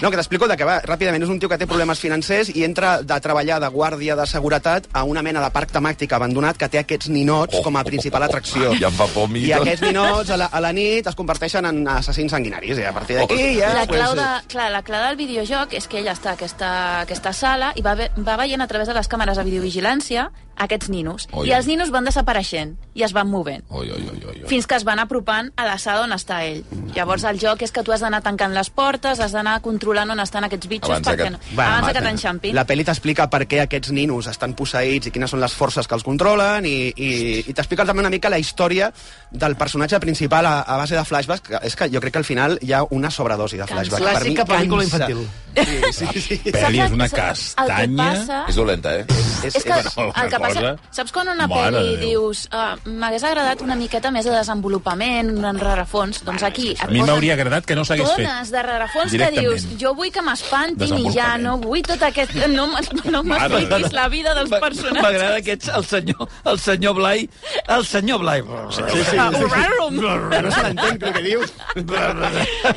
Speaker 3: No, que t'explico de què va. Ràpidament, és un tio que té problemes financers i entra de treballar de guàrdia de seguretat a una mena de parc temàtic abandonat que té aquests ninots com a principal atracció.
Speaker 5: Ja em fa por, mi. doncs.
Speaker 3: I aquests ninots a la, a la nit es converteixen en assassins sanguinaris. I a partir d'aquí ja...
Speaker 6: La clau,
Speaker 3: pues,
Speaker 6: de, clar, la clau del videojoc és que ell està a aquesta, a aquesta sala i va, ve, va veient a través de les càmeres de videovigilància aquests ninos.
Speaker 5: Oi,
Speaker 6: I els
Speaker 5: oi.
Speaker 6: ninos van desapareixent i es van movent.
Speaker 5: Oi, oi, oi, oi, oi.
Speaker 6: fins que es van apropant a la sala on està ell. Llavors el joc és que tu has d'anar tancant les portes, has d'anar controlant on estan aquests bitxos
Speaker 5: Abans de
Speaker 6: perquè
Speaker 5: que-
Speaker 6: no...
Speaker 3: Va,
Speaker 6: abans de
Speaker 3: mata.
Speaker 6: que t'enxampin.
Speaker 3: La pel·li t'explica per què aquests ninos estan posseïts i quines són les forces que els controlen i, i, i t'explica també una mica la història del personatge principal a, a base de flashbacks. Que és que jo crec que al final hi ha una sobredosi de
Speaker 6: Cansa.
Speaker 3: flashbacks.
Speaker 2: Clàssica pel·lícula
Speaker 3: cansa.
Speaker 2: infantil.
Speaker 3: Sí, sí, sí.
Speaker 1: Peli és una
Speaker 6: Saps el- El que
Speaker 1: castanya.
Speaker 6: passa...
Speaker 5: És dolenta, eh?
Speaker 3: És,
Speaker 6: És que
Speaker 3: és,
Speaker 1: bueno,
Speaker 6: el que
Speaker 1: una
Speaker 6: passa...
Speaker 1: cosa.
Speaker 6: Saps quan una
Speaker 1: Mare
Speaker 6: pel·li
Speaker 1: de Déu.
Speaker 6: dius ah, m'hagués agradat una miqueta més de desenvolupament, un enrarefons? Doncs aquí...
Speaker 1: A mi m'hauria agradat que no s'hagués fet.
Speaker 6: Tones de rarefons que
Speaker 1: Directament.
Speaker 6: dius jo vull que m'espantin i ja
Speaker 1: Desenvolupament.
Speaker 6: no vull tot aquest... No m'es- no
Speaker 1: Mare de
Speaker 6: m'expliquis
Speaker 1: Déu.
Speaker 6: la vida dels personatges.
Speaker 2: M'agrada que ets el senyor, el senyor Blai, el senyor Blai. Sí, sí,
Speaker 6: Ah, horrorum.
Speaker 3: no se l'entén, el que dius.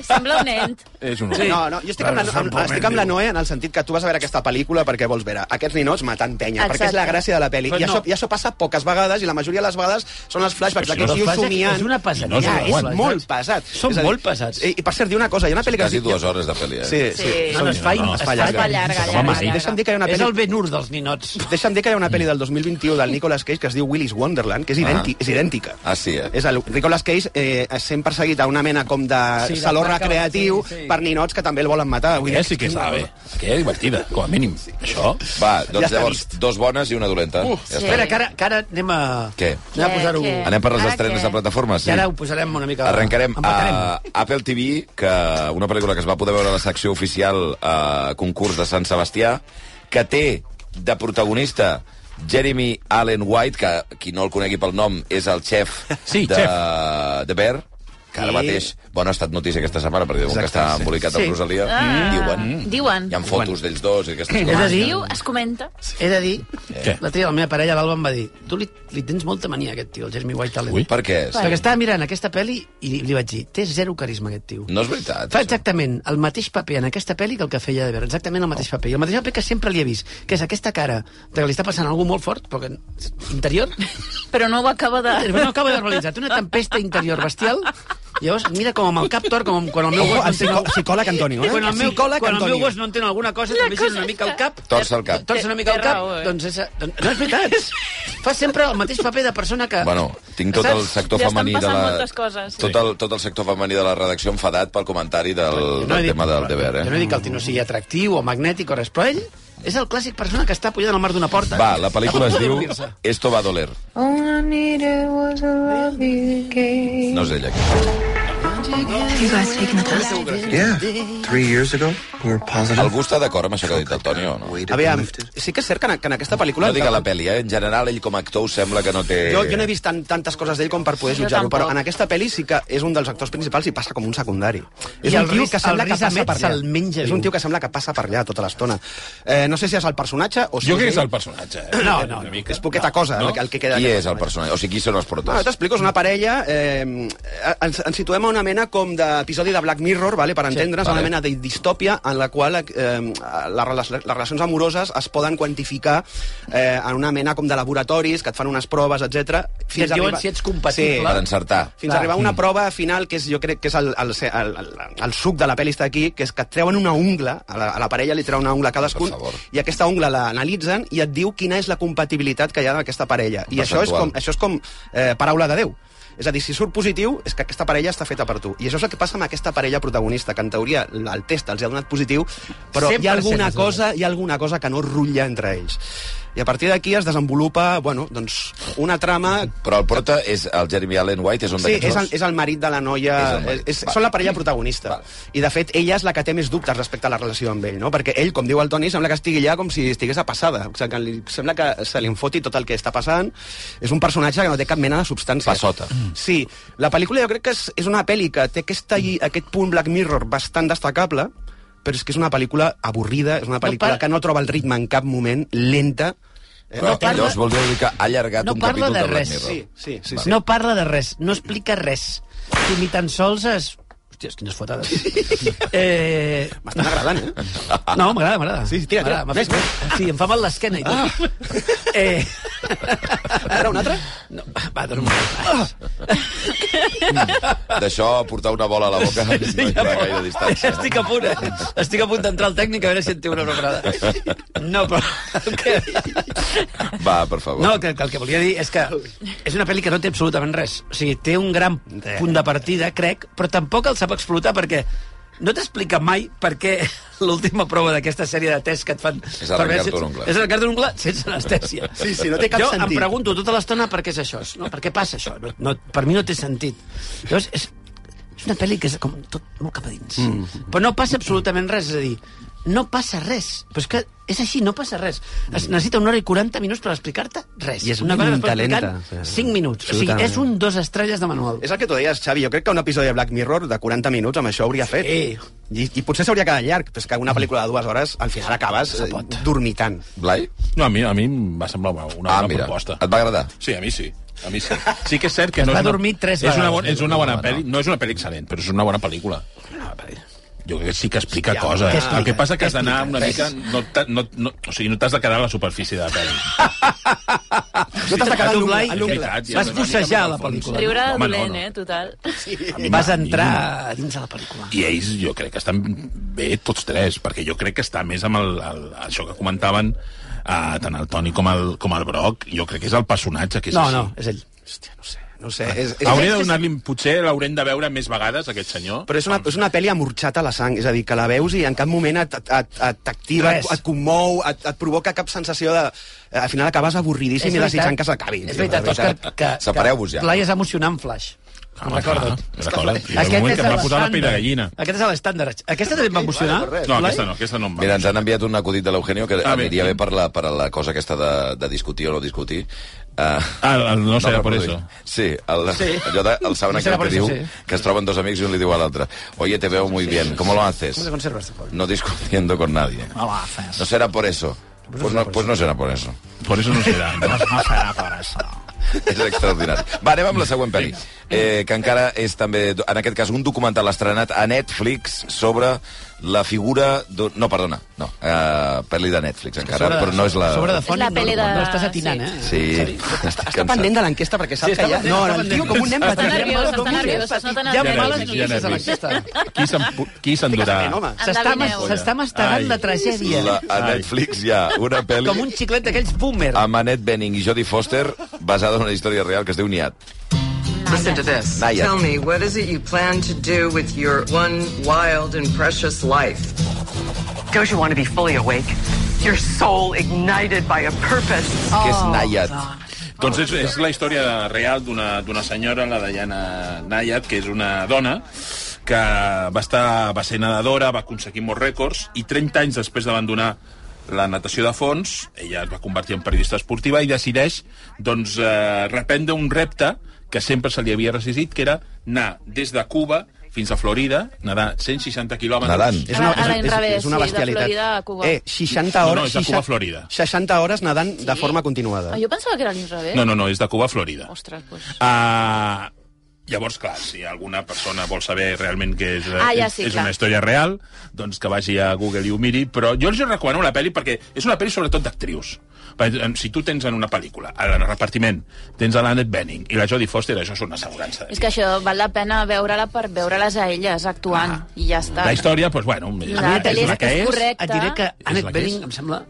Speaker 6: Sembla un nen.
Speaker 1: És un...
Speaker 3: No, no, jo estic amb, la, amb, estic amb la Noé en el sentit que tu vas a veure aquesta pel·lícula perquè vols veure aquests ninots matant penya,
Speaker 6: Exacte.
Speaker 3: perquè és la gràcia de la pel·li.
Speaker 2: Però
Speaker 3: I,
Speaker 2: no.
Speaker 3: això, I això passa poques vegades, i la majoria de les vegades són els flashbacks
Speaker 1: Però si
Speaker 3: d'aquests
Speaker 1: no,
Speaker 3: tios
Speaker 2: flashback
Speaker 3: somiant.
Speaker 2: és una pesaditat.
Speaker 3: Ja,
Speaker 1: No,
Speaker 3: és
Speaker 1: no,
Speaker 3: molt pesat.
Speaker 2: Són
Speaker 3: És a dir,
Speaker 2: molt pesats.
Speaker 3: I, I per cert, dir una cosa, hi ha una pel·li que...
Speaker 5: Quasi
Speaker 3: es diu-
Speaker 5: dues hores de pel·li, eh?
Speaker 3: Sí, sí.
Speaker 6: Sí.
Speaker 2: No, no, es fa,
Speaker 1: No, no,
Speaker 2: es
Speaker 1: es
Speaker 2: fa
Speaker 3: fa llarga.
Speaker 2: llarga.
Speaker 6: llarga,
Speaker 1: Home,
Speaker 6: llarga,
Speaker 1: sí.
Speaker 6: llarga.
Speaker 3: Deixa'm dir que hi ha una
Speaker 2: És
Speaker 3: pel·li...
Speaker 2: el Ben Hur dels ninots.
Speaker 3: Deixa'm dir que hi ha una pel·li del 2021 del Nicolas Cage que es diu Willy's Wonderland, que
Speaker 2: Ah.
Speaker 3: és, idènti, és idèntica.
Speaker 5: Ah, sí, eh?
Speaker 3: És el Nicolas Cage eh, sent perseguit a una mena com de
Speaker 2: Sí,
Speaker 3: sí,
Speaker 2: de
Speaker 3: saló
Speaker 2: placa-
Speaker 3: recreatiu
Speaker 2: sí,
Speaker 3: sí,
Speaker 2: sí.
Speaker 3: sí. per ninots que també el volen matar. Vull dir,
Speaker 1: Aquella sí que estava bé. Aquella divertida, com a mínim. Això...
Speaker 5: Va,
Speaker 3: Ja
Speaker 5: doncs
Speaker 3: està
Speaker 5: llavors,
Speaker 3: vist.
Speaker 5: dos bones i una dolenta. Ja està.
Speaker 2: Espera, que ara, que ara anem a...
Speaker 5: Què?
Speaker 2: Anem a
Speaker 6: Què,
Speaker 2: posar-ho...
Speaker 6: què?
Speaker 5: Anem per les
Speaker 6: Eh, Ara
Speaker 5: estrenes
Speaker 6: què?
Speaker 5: de plataforma, sí?
Speaker 2: I ara ho posarem una mica...
Speaker 5: Arrencarem
Speaker 2: Empatarem.
Speaker 5: a Apple TV, que una pel·lícula que es va poder veure a la secció oficial a concurs de Sant Sebastià, que té de protagonista Jeremy Allen White, que qui no el conegui pel nom és el xef
Speaker 1: Sí,
Speaker 5: de,
Speaker 1: xef.
Speaker 5: de Bear, que ara
Speaker 3: Sí.
Speaker 5: mateix, bueno, ha estat notícia aquesta setmana, perquè diuen que
Speaker 3: Exacte,
Speaker 5: està
Speaker 3: sí.
Speaker 5: embolicat amb
Speaker 2: Sí.
Speaker 5: Rosalia, diuen.
Speaker 6: Diuen.
Speaker 5: Hi ha fotos d'ells dos i aquestes
Speaker 2: És a
Speaker 5: coses.
Speaker 2: dir,
Speaker 6: Diu, es comenta.
Speaker 2: he de dir...
Speaker 1: Què?
Speaker 2: La tia, la meva parella, l'Alba, em va dir tu li, li tens molta mania, a aquest tio, el Jeremy White Talent.
Speaker 1: Ui.
Speaker 5: Per què és?
Speaker 2: Perquè estava mirant aquesta pel·li i li, li vaig dir té zero carisma, aquest tio.
Speaker 5: No és veritat.
Speaker 2: Fa exactament el mateix paper en aquesta pel·li que el que feia de veure, exactament el mateix paper. I el mateix paper que sempre li he vist, que és aquesta cara de que li està passant algú molt fort, però que interior,
Speaker 6: Però no ho acaba
Speaker 2: és,
Speaker 6: de...
Speaker 2: no acaba de verbalitzar, té una tempesta interior bestial, llavors mira com amb el cap tort, com quan el meu
Speaker 3: Ojo,
Speaker 2: gos no
Speaker 3: el
Speaker 2: entén...
Speaker 3: psicò- psicòleg Antonio, eh?
Speaker 2: Quan el meu,
Speaker 3: Psicòleg
Speaker 2: quan el meu
Speaker 3: Antonio.
Speaker 2: gos no entén alguna cosa,
Speaker 6: La
Speaker 2: també gira
Speaker 6: cosa
Speaker 2: una mica
Speaker 6: és
Speaker 2: el cap...
Speaker 5: Torça el cap.
Speaker 2: Torça una mica el
Speaker 6: Té
Speaker 2: cap,
Speaker 6: raó, eh?
Speaker 2: doncs és... Doncs, no és veritat! Fa sempre el mateix paper de persona que...
Speaker 5: Bueno, tinc tot
Speaker 2: Saps?
Speaker 5: el sector
Speaker 6: Li Eh, estan
Speaker 5: femení de
Speaker 6: passant
Speaker 5: la...
Speaker 6: moltes coses.
Speaker 5: Tot el, tot el sector femení de la redacció enfadat pel comentari del,
Speaker 2: Jo he
Speaker 5: del
Speaker 2: dit-
Speaker 5: tema del deber,
Speaker 2: Jo no
Speaker 5: eh?
Speaker 2: dic que el Tino sigui atractiu o magnètic o res, però ell és el clàssic persona que està pujant al mar d'una porta.
Speaker 5: Va, la pel·lícula
Speaker 2: A
Speaker 5: es
Speaker 2: punt de
Speaker 5: diu
Speaker 2: morir-se.
Speaker 5: Esto va a doler. No és ella. aquesta.
Speaker 9: You guys taking a test?
Speaker 10: Yeah. Three years ago, we were positive.
Speaker 5: Algú està d'acord amb això que ha dit el Toni o no?
Speaker 3: Aviam, sí que és cert que en, que en aquesta pel·lícula...
Speaker 5: No diga la pel·li, eh? En general, ell com a actor us sembla que no té...
Speaker 3: Jo,
Speaker 1: Eh.
Speaker 3: jo no he vist tan, tantes coses d'ell com per poder
Speaker 6: Jo
Speaker 3: jutjar-ho, però
Speaker 6: tampoc.
Speaker 3: en aquesta pel·li sí que és un dels actors principals i passa com un secundari. És
Speaker 2: I
Speaker 3: un
Speaker 2: el
Speaker 3: tio
Speaker 2: Riz-
Speaker 3: que sembla
Speaker 2: el
Speaker 3: que
Speaker 2: Riz
Speaker 3: passa
Speaker 2: Ahmed
Speaker 3: per
Speaker 2: se'l menja
Speaker 3: allà. És un
Speaker 2: viu.
Speaker 3: tio que sembla que passa per allà tota l'estona. Eh, no sé si és el personatge o si
Speaker 1: Jo crec que és
Speaker 3: ell.
Speaker 1: el personatge. Eh?
Speaker 2: No,
Speaker 1: Una
Speaker 2: no, no.
Speaker 1: mica.
Speaker 3: És poqueta cosa,
Speaker 1: No?
Speaker 3: el, el que queda.
Speaker 5: Qui
Speaker 3: d'aquest
Speaker 5: és el personatge? O sigui, qui són els
Speaker 3: Ah,
Speaker 5: porters?
Speaker 3: T'explico, és una parella... Eh, ens, ens situem a una mena com d'episodi de Black Mirror, vale, per entendre's, sí,
Speaker 5: vale.
Speaker 3: una mena de distòpia en la qual eh, les, rela- les relacions amoroses es poden quantificar eh, en una mena com de laboratoris, que et fan unes proves, etc.
Speaker 2: et diuen si ets compatible.
Speaker 5: Per encertar.
Speaker 3: Fins
Speaker 2: Clar.
Speaker 3: a arribar a
Speaker 5: Mm.
Speaker 3: una prova final, que és, jo crec que és el, el, el, el, el suc de la pel·li està aquí, que és que et treuen una ungla, a la, a la parella li treuen una ungla a cadascun,
Speaker 5: Per favor.
Speaker 3: i aquesta ungla l'analitzen i et diu quina és la compatibilitat que hi ha d'aquesta parella. I això és
Speaker 5: Percentual.
Speaker 3: com, això és com eh, paraula de Déu. És a dir, si surt positiu, és que aquesta parella està feta per tu. I això és el que passa amb aquesta parella protagonista, que en teoria l- el test els ha donat positiu, però hi
Speaker 2: 100%
Speaker 3: ha alguna
Speaker 2: els ha
Speaker 3: cosa hi ha alguna cosa que no rutlla entre ells. I a partir d'aquí es desenvolupa, bueno, doncs, una trama
Speaker 5: Però el porta és el Jeremy Allen White, és un
Speaker 3: Sí,
Speaker 5: d'aquests
Speaker 3: és el,
Speaker 5: dos?
Speaker 3: és el marit de la noia...
Speaker 5: És el
Speaker 3: És
Speaker 5: marit,
Speaker 3: és,
Speaker 5: val.
Speaker 3: són la parella protagonista.
Speaker 5: Val.
Speaker 3: I, de fet, ella és la que té més dubtes respecte a la relació amb ell, no? Perquè ell, com diu el Toni, sembla que estigui allà com si estigués a passada. O sigui, que li, sembla que se li enfoti tot el que està passant. És un personatge que no té cap mena de substància. Mm.
Speaker 5: Passota.
Speaker 3: Sí. La pel·lícula jo crec que és, és una pel·li que té aquesta, aquest punt Black Mirror bastant destacable, però és que és una pel·lícula avorrida, és una pel·lícula
Speaker 2: para-
Speaker 3: que no troba el ritme en cap moment, lenta... Eh,
Speaker 5: Però
Speaker 2: No parla-
Speaker 5: llavors vol dir que ha allargat
Speaker 2: no
Speaker 5: un
Speaker 2: parla
Speaker 5: capítol
Speaker 2: de
Speaker 5: de Black
Speaker 2: res.
Speaker 5: Mirror.
Speaker 3: Sí, sí, sí. sí.
Speaker 2: No parla de res, no explica res. I ni tan sols es... Hòsties, quines fotades. eh...
Speaker 3: M'estan agradant, eh?
Speaker 2: No, m'agrada, m'agrada.
Speaker 3: Sí, sí, tira, tira.
Speaker 2: M'agrada, m'ha fet- Sí, em fa mal l'esquena i
Speaker 5: Ah.
Speaker 2: tot. Eh...
Speaker 3: A veure, un altre?
Speaker 2: No, va, dona un
Speaker 5: Ah.
Speaker 2: moment.
Speaker 5: D'això, portar una bola a la boca no hi va a gaire distància.
Speaker 2: Estic a punt, eh? Estic a punt d'entrar al tècnic a veure si en té una preparada. No, però... el Que...
Speaker 5: Va, per favor.
Speaker 2: No, que, que el que volia dir és que és una pel·li que no té absolutament res. O sigui, té un gran punt de partida, crec, però tampoc el sap explotar perquè no t'explica mai per què l'última prova d'aquesta sèrie de tests que et fan...
Speaker 5: És
Speaker 2: per
Speaker 5: arrencar-te
Speaker 2: veure si-
Speaker 5: un ongle.
Speaker 2: És arrencar-te un ongle sense anestèsia.
Speaker 3: Sí, sí, no té cap
Speaker 2: jo
Speaker 3: sentit.
Speaker 2: em pregunto tota l'estona per què és això, no? per què passa això. No, no, per mi no té sentit. Llavors, és, és una pel·li que és com tot molt cap a dins. Mm. Però no passa absolutament res, és a dir, no passa res. Però és que és així, no passa res. Es necessita una hora i 40 minuts per explicar-te res.
Speaker 3: Mm. I és
Speaker 2: una cosa que
Speaker 3: lenta,
Speaker 2: es pot explicar
Speaker 3: lenta.
Speaker 2: en 5 minuts. O sigui,
Speaker 3: Absolutament.
Speaker 2: és un dos estrelles de manual.
Speaker 3: És el que tu deies, Xavi. Jo crec que un episodi de Black Mirror de 40 minuts amb això hauria fet.
Speaker 2: Sí.
Speaker 3: I, i potser s'hauria quedat llarg, però és que una pel·lícula de dues hores al final acabes eh, dormitant.
Speaker 5: Blai?
Speaker 1: No, a mi, a mi em va semblar una bona
Speaker 5: Ah, mira,
Speaker 1: proposta.
Speaker 5: et va agradar?
Speaker 1: Sí, a mi sí. A mi sí. Sí que és cert que no
Speaker 2: va
Speaker 1: és una...
Speaker 2: dormir tres
Speaker 1: és una,
Speaker 2: vegades.
Speaker 1: bona, és una bona pel·li, no és una pel·li excel·lent, però és una bona pel·lícula. Jo crec que sí que explica Hòstia, coses.
Speaker 2: què explica?
Speaker 1: El que passa que
Speaker 2: Què
Speaker 1: has d'anar
Speaker 2: explica?
Speaker 1: una mica... No, t'ha- no, no, o sigui, no t'has de quedar a la superfície de la pel·li.
Speaker 3: No t'has de quedar
Speaker 2: Tu,
Speaker 3: l'ungla.
Speaker 2: Blai,
Speaker 1: a l'ungla. veritat, ja
Speaker 2: Vas
Speaker 1: no va
Speaker 2: bussejar
Speaker 1: ni cap
Speaker 2: la
Speaker 1: al fons.
Speaker 2: pel·lícula.
Speaker 6: Riure de
Speaker 1: Home, no,
Speaker 6: dolent,
Speaker 1: no.
Speaker 6: eh, total.
Speaker 2: Vas entrar a dins de la pel·lícula.
Speaker 1: I ells jo crec que estan bé tots tres, perquè jo crec que està més amb el, el, això que comentaven eh, tant el Toni com el, com el Broc, jo crec que és el personatge que és
Speaker 2: No,
Speaker 1: així.
Speaker 2: no, és ell.
Speaker 3: Hòstia, no sé, no sé. És, és,
Speaker 1: Hauria de donar-li... Potser l'haurem de veure més vegades, aquest senyor.
Speaker 3: però és una, és una pel·li amorxata a la sang, és a dir, que la veus i en cap moment et- et- et et- t'activa,
Speaker 2: Res.
Speaker 3: et, et commou, et, et provoca cap sensació de... eh, Al final acabes avorridíssim i desitjant que s'acabi.
Speaker 2: És veritat, Òscar, que, que,
Speaker 5: Separeu-vos ja.
Speaker 2: Blai es va emocionar amb Flash.
Speaker 1: Ah,
Speaker 2: Em recordo.
Speaker 1: clar, recorda't. I el moment que em va posar la pell de gallina.
Speaker 2: Aquest és l'estàndard. Aquesta també em va emocionar.
Speaker 1: No,
Speaker 2: Blai?
Speaker 1: aquesta no, aquesta no em va.
Speaker 5: Mira, ens han enviat un acudit de l'Eugenio que
Speaker 1: Ah, bé.
Speaker 5: aniria bé per la, per a la cosa aquesta de, de discutir o no discutir. Uh,
Speaker 1: Ah, el- el no serà por eso.
Speaker 5: Sí, el, sí. allò de, el saben
Speaker 2: No
Speaker 5: no
Speaker 2: será
Speaker 5: que
Speaker 2: por eso,
Speaker 5: diu,
Speaker 2: sí.
Speaker 5: que es troben dos amics i un li diu a l'altre Oye, te veo muy bien, ¿cómo lo haces?
Speaker 2: ¿Cómo te conservas, Paul?
Speaker 5: No discutiendo con nadie.
Speaker 2: No la fas.
Speaker 5: No será por eso. Pues no, pues no será por eso.
Speaker 1: Por eso no serà. No?
Speaker 2: serà per això.
Speaker 5: És extraordinari. Va, anem amb la següent pel·li, eh, que encara és també, en aquest cas, un documental estrenat a Netflix sobre la figura... d'un- No, perdona, no, eh, pel·li de Netflix encara,
Speaker 2: Sobre de-
Speaker 5: però no és la...
Speaker 2: Sobre de
Speaker 6: És
Speaker 2: fons,
Speaker 6: la peli de-
Speaker 2: No estàs atinant, eh?
Speaker 5: Sí, estic
Speaker 3: Està pendent de l'enquesta, perquè sap
Speaker 2: Sí, està
Speaker 3: que ja...
Speaker 2: pendent,
Speaker 3: No,
Speaker 2: està
Speaker 3: el tio
Speaker 2: pendent.
Speaker 3: com un nen
Speaker 6: Està
Speaker 3: petit.
Speaker 6: nerviós,
Speaker 3: Dos
Speaker 6: està
Speaker 3: mil
Speaker 6: nerviós,
Speaker 3: petit.
Speaker 6: està
Speaker 2: Hi ha
Speaker 6: nerviós.
Speaker 2: males
Speaker 1: nervis,
Speaker 2: notícies
Speaker 1: hi ha
Speaker 2: a
Speaker 1: nervis.
Speaker 2: l'enquesta.
Speaker 1: Qui s'en- Qui s'endurà...
Speaker 3: Ben, home.
Speaker 2: S'està mas-
Speaker 6: Endevineu.
Speaker 2: S'està mastegant
Speaker 1: Ai.
Speaker 2: la tragèdia.
Speaker 5: La, a Netflix hi ha una pel·li
Speaker 2: eh? Com un xiclet d'aquells boomer.
Speaker 5: amb Annette Bening i Jodie Foster basada en una història real que es diu Niat.
Speaker 11: Listen to this.
Speaker 5: Naya.
Speaker 11: Tell me, what is it you plan to do with your one wild and precious life? Don't you want to be fully awake? Your soul ignited by a purpose.
Speaker 5: que
Speaker 6: Oh,
Speaker 5: és Nayat.
Speaker 1: Doncs és, és la història real d'una d'una senyora, la Diana Nayat, que és una dona que va, estar, va ser nedadora, va aconseguir molts rècords, i 30 anys després d'abandonar la natació de fons, ella es va convertir en periodista esportiva i decideix doncs, eh, reprendre un repte que sempre se li havia resistit, que era anar des de Cuba fins a Florida, nedar 160 quilòmetres...
Speaker 5: Nedant.
Speaker 3: És una,
Speaker 6: Ara- ara
Speaker 3: és, és,
Speaker 6: enrabés,
Speaker 3: és una
Speaker 6: sí, de
Speaker 3: bestialitat.
Speaker 6: Florida a Cuba.
Speaker 3: Eh, 60
Speaker 1: No,
Speaker 3: hores...
Speaker 1: no, és de
Speaker 3: 60
Speaker 1: Cuba a Florida.
Speaker 3: 60 hores nedant de forma continuada.
Speaker 6: Ah, jo pensava que era l'inrevés.
Speaker 1: No, no, no, és de Cuba a Florida.
Speaker 6: Ostres, doncs. pues. Ah,
Speaker 1: Uh, llavors, clar, si alguna persona vol saber realment que és,
Speaker 6: Ah, ja
Speaker 1: és,
Speaker 6: sí,
Speaker 1: és
Speaker 6: clar.
Speaker 1: una història real, doncs que vagi a Google i ho miri, però jo els recomano la pel·li perquè és una pel·li sobretot d'actrius. Per- em, Si tu tens en una pel·lícula, en el repartiment, tens a l'Annette Bening i la Jodie Foster, això és una assegurança.
Speaker 6: És que això val la pena veure-la per veure-les a elles actuant, ah. i ja està.
Speaker 1: La història, doncs, bueno, és,
Speaker 6: La
Speaker 1: és
Speaker 6: pel·li
Speaker 1: la
Speaker 6: és,
Speaker 1: que és.
Speaker 6: correcta.
Speaker 2: Et diré que
Speaker 1: la
Speaker 2: Annette
Speaker 1: que és.
Speaker 2: Bening, em sembla,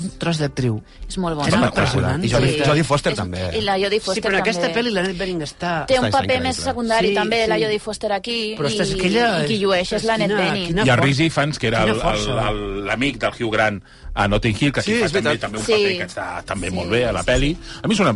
Speaker 2: un tros d'actriu.
Speaker 6: És molt
Speaker 2: És
Speaker 6: bona.
Speaker 2: una impressionant.
Speaker 3: I Jodie,
Speaker 6: Sí.
Speaker 3: Jodie Foster també.
Speaker 6: I la Jodie
Speaker 2: Sí,
Speaker 6: Foster
Speaker 2: però en
Speaker 6: també.
Speaker 2: aquesta pel·li l'Annette Bening està...
Speaker 6: Té un
Speaker 5: Està
Speaker 6: paper més
Speaker 5: increïble.
Speaker 6: secundari
Speaker 2: Sí,
Speaker 6: també, la
Speaker 2: sí.
Speaker 6: Jodie Foster aquí,
Speaker 2: Però ostres,
Speaker 6: i,
Speaker 2: és que ella...
Speaker 6: i qui llueix és l'Annette
Speaker 2: Quina-
Speaker 6: Bening.
Speaker 2: quina
Speaker 1: Hi ha
Speaker 2: força.
Speaker 1: Rizzi Fans, que era
Speaker 2: Quina
Speaker 1: el-
Speaker 2: força.
Speaker 1: el- el- l'amic del Hugh Grant a Notting Hill, que aquí
Speaker 3: Sí,
Speaker 1: fa
Speaker 3: és
Speaker 1: també,
Speaker 3: veritat.
Speaker 1: també un
Speaker 6: Sí.
Speaker 1: paper que està també
Speaker 6: Sí,
Speaker 1: molt bé a la
Speaker 6: sí,
Speaker 1: peli. A mi és una...
Speaker 6: A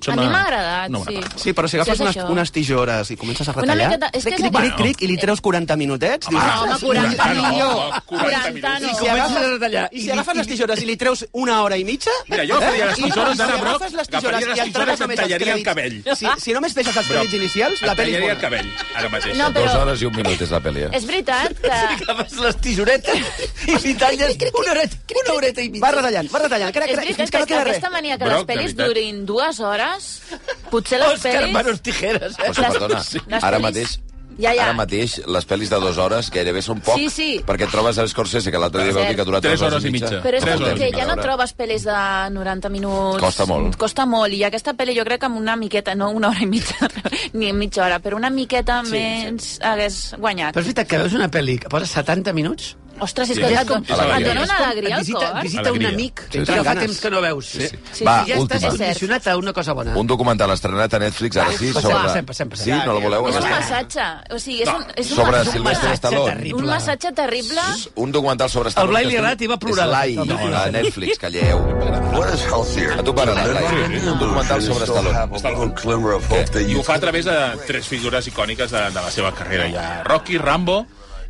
Speaker 1: sembla
Speaker 6: mi m'ha agradat,
Speaker 1: una bona
Speaker 6: sí.
Speaker 1: pel·li.
Speaker 3: Sí, però si
Speaker 6: Sí,
Speaker 3: agafes
Speaker 6: és
Speaker 3: unes,
Speaker 6: això.
Speaker 3: unes tisores i comences a
Speaker 6: Una
Speaker 3: retallar...
Speaker 6: miqueta- és que
Speaker 3: cric,
Speaker 6: és
Speaker 3: cric, cric,
Speaker 1: això.
Speaker 3: cric, i li treus 40 minutets...
Speaker 1: Home,
Speaker 3: dius,
Speaker 6: No, home,
Speaker 3: "Ah,
Speaker 6: 40
Speaker 1: no,
Speaker 6: no.
Speaker 1: 40 minuts.
Speaker 3: I si
Speaker 6: 40 no.
Speaker 2: Comences
Speaker 3: agafes,
Speaker 2: a retallar.
Speaker 3: I si agafes les tisores i li treus una hora i mitja...
Speaker 1: Mira, jo faria les
Speaker 3: I-
Speaker 1: tisores
Speaker 3: i
Speaker 1: d'Anna
Speaker 3: si
Speaker 1: Brock,
Speaker 3: agafes les
Speaker 1: agafaria
Speaker 3: tisores
Speaker 1: les
Speaker 3: i et
Speaker 1: tisores
Speaker 3: tragues
Speaker 1: i em
Speaker 3: només els
Speaker 1: tallaria el
Speaker 3: crèdits.
Speaker 1: cabell.
Speaker 3: Si, si només deixes els
Speaker 1: Però
Speaker 3: crèdits inicials, la
Speaker 1: em
Speaker 3: pel·li és
Speaker 1: tallaria el
Speaker 3: bona.
Speaker 1: cabell, ara mateix.
Speaker 6: No, però-
Speaker 5: Dues hores i un minut és la pel·li, eh?
Speaker 6: És veritat que...
Speaker 2: Agafes les tisoretes i li talles una horeta, una horeta i mitja.
Speaker 3: Va retallant, va retallant, crec,
Speaker 6: És
Speaker 3: crec,
Speaker 6: veritat
Speaker 3: fins que no
Speaker 6: que
Speaker 3: queda res.
Speaker 6: aquesta mania que
Speaker 1: Broc,
Speaker 6: les
Speaker 1: de
Speaker 6: pel·lis
Speaker 1: veritat.
Speaker 6: durin dues hores, potser les
Speaker 2: Òscar
Speaker 6: pel·lis...
Speaker 2: Manos Tijeras, eh?
Speaker 5: Però, si,
Speaker 6: Les-
Speaker 5: perdona,
Speaker 6: sí.
Speaker 5: ara
Speaker 6: les
Speaker 5: mateix...
Speaker 6: pel·lis- Ja, ja.
Speaker 5: Ara mateix, les pel·lis de dues hores gairebé són poc,
Speaker 6: Sí, sí.
Speaker 5: perquè et trobes a Scorsese, que l'altre dia
Speaker 6: Cert.
Speaker 5: vau dir que ha durat
Speaker 1: Tres
Speaker 5: tres hores,
Speaker 1: hores i mitja.
Speaker 6: Però és
Speaker 1: Tres
Speaker 6: que
Speaker 1: hores i
Speaker 6: ja no trobes pel·lis de 90 minuts.
Speaker 5: Costa molt.
Speaker 6: Costa molt, i aquesta pel·li jo crec que amb una miqueta, no una hora i mitja, ni mitja hora, però una miqueta sí, menys sí. hagués guanyat.
Speaker 2: Però és veritat que veus una pel·li que posa 70 minuts
Speaker 6: Ostres, és
Speaker 1: Sí,
Speaker 6: que
Speaker 1: és
Speaker 6: et,
Speaker 1: com-
Speaker 6: et, et dona una alegria al
Speaker 2: visita,
Speaker 6: cor.
Speaker 2: Visita
Speaker 1: Alegria.
Speaker 2: un amic
Speaker 5: Sí,
Speaker 2: sí,
Speaker 5: sí.
Speaker 2: que fa
Speaker 3: Ganes.
Speaker 2: temps que no veus.
Speaker 5: Sí, sí.
Speaker 6: Sí,
Speaker 5: Va,
Speaker 6: sí,
Speaker 2: I ja
Speaker 5: última.
Speaker 2: estàs
Speaker 6: És cert.
Speaker 2: condicionat a una cosa bona.
Speaker 5: Un documental estrenat a Netflix, ara sí,
Speaker 2: Passem,
Speaker 5: sobre...
Speaker 2: passem, passem, passem.
Speaker 5: Sí, no la voleu?
Speaker 6: És un
Speaker 5: Ara sí.
Speaker 6: massatge. O sigui, és un, és un,
Speaker 5: Sobre
Speaker 6: massatge-
Speaker 5: Sylvester Stallone.
Speaker 2: terrible.
Speaker 6: un massatge terrible.
Speaker 5: Un documental sobre... Stallone
Speaker 2: Blai
Speaker 5: que es diu-
Speaker 2: Lierat hi va plorar.
Speaker 5: És l'AI,
Speaker 2: El Blai
Speaker 5: no, a Netflix, calleu.
Speaker 8: What is healthier?
Speaker 5: A tu paren el Blai. Un documental sobre Stallone.
Speaker 8: little glimmer of hope that
Speaker 1: I ho fa a través de tres figures icòniques de, de la seva carrera. Hi ha Rocky, Rambo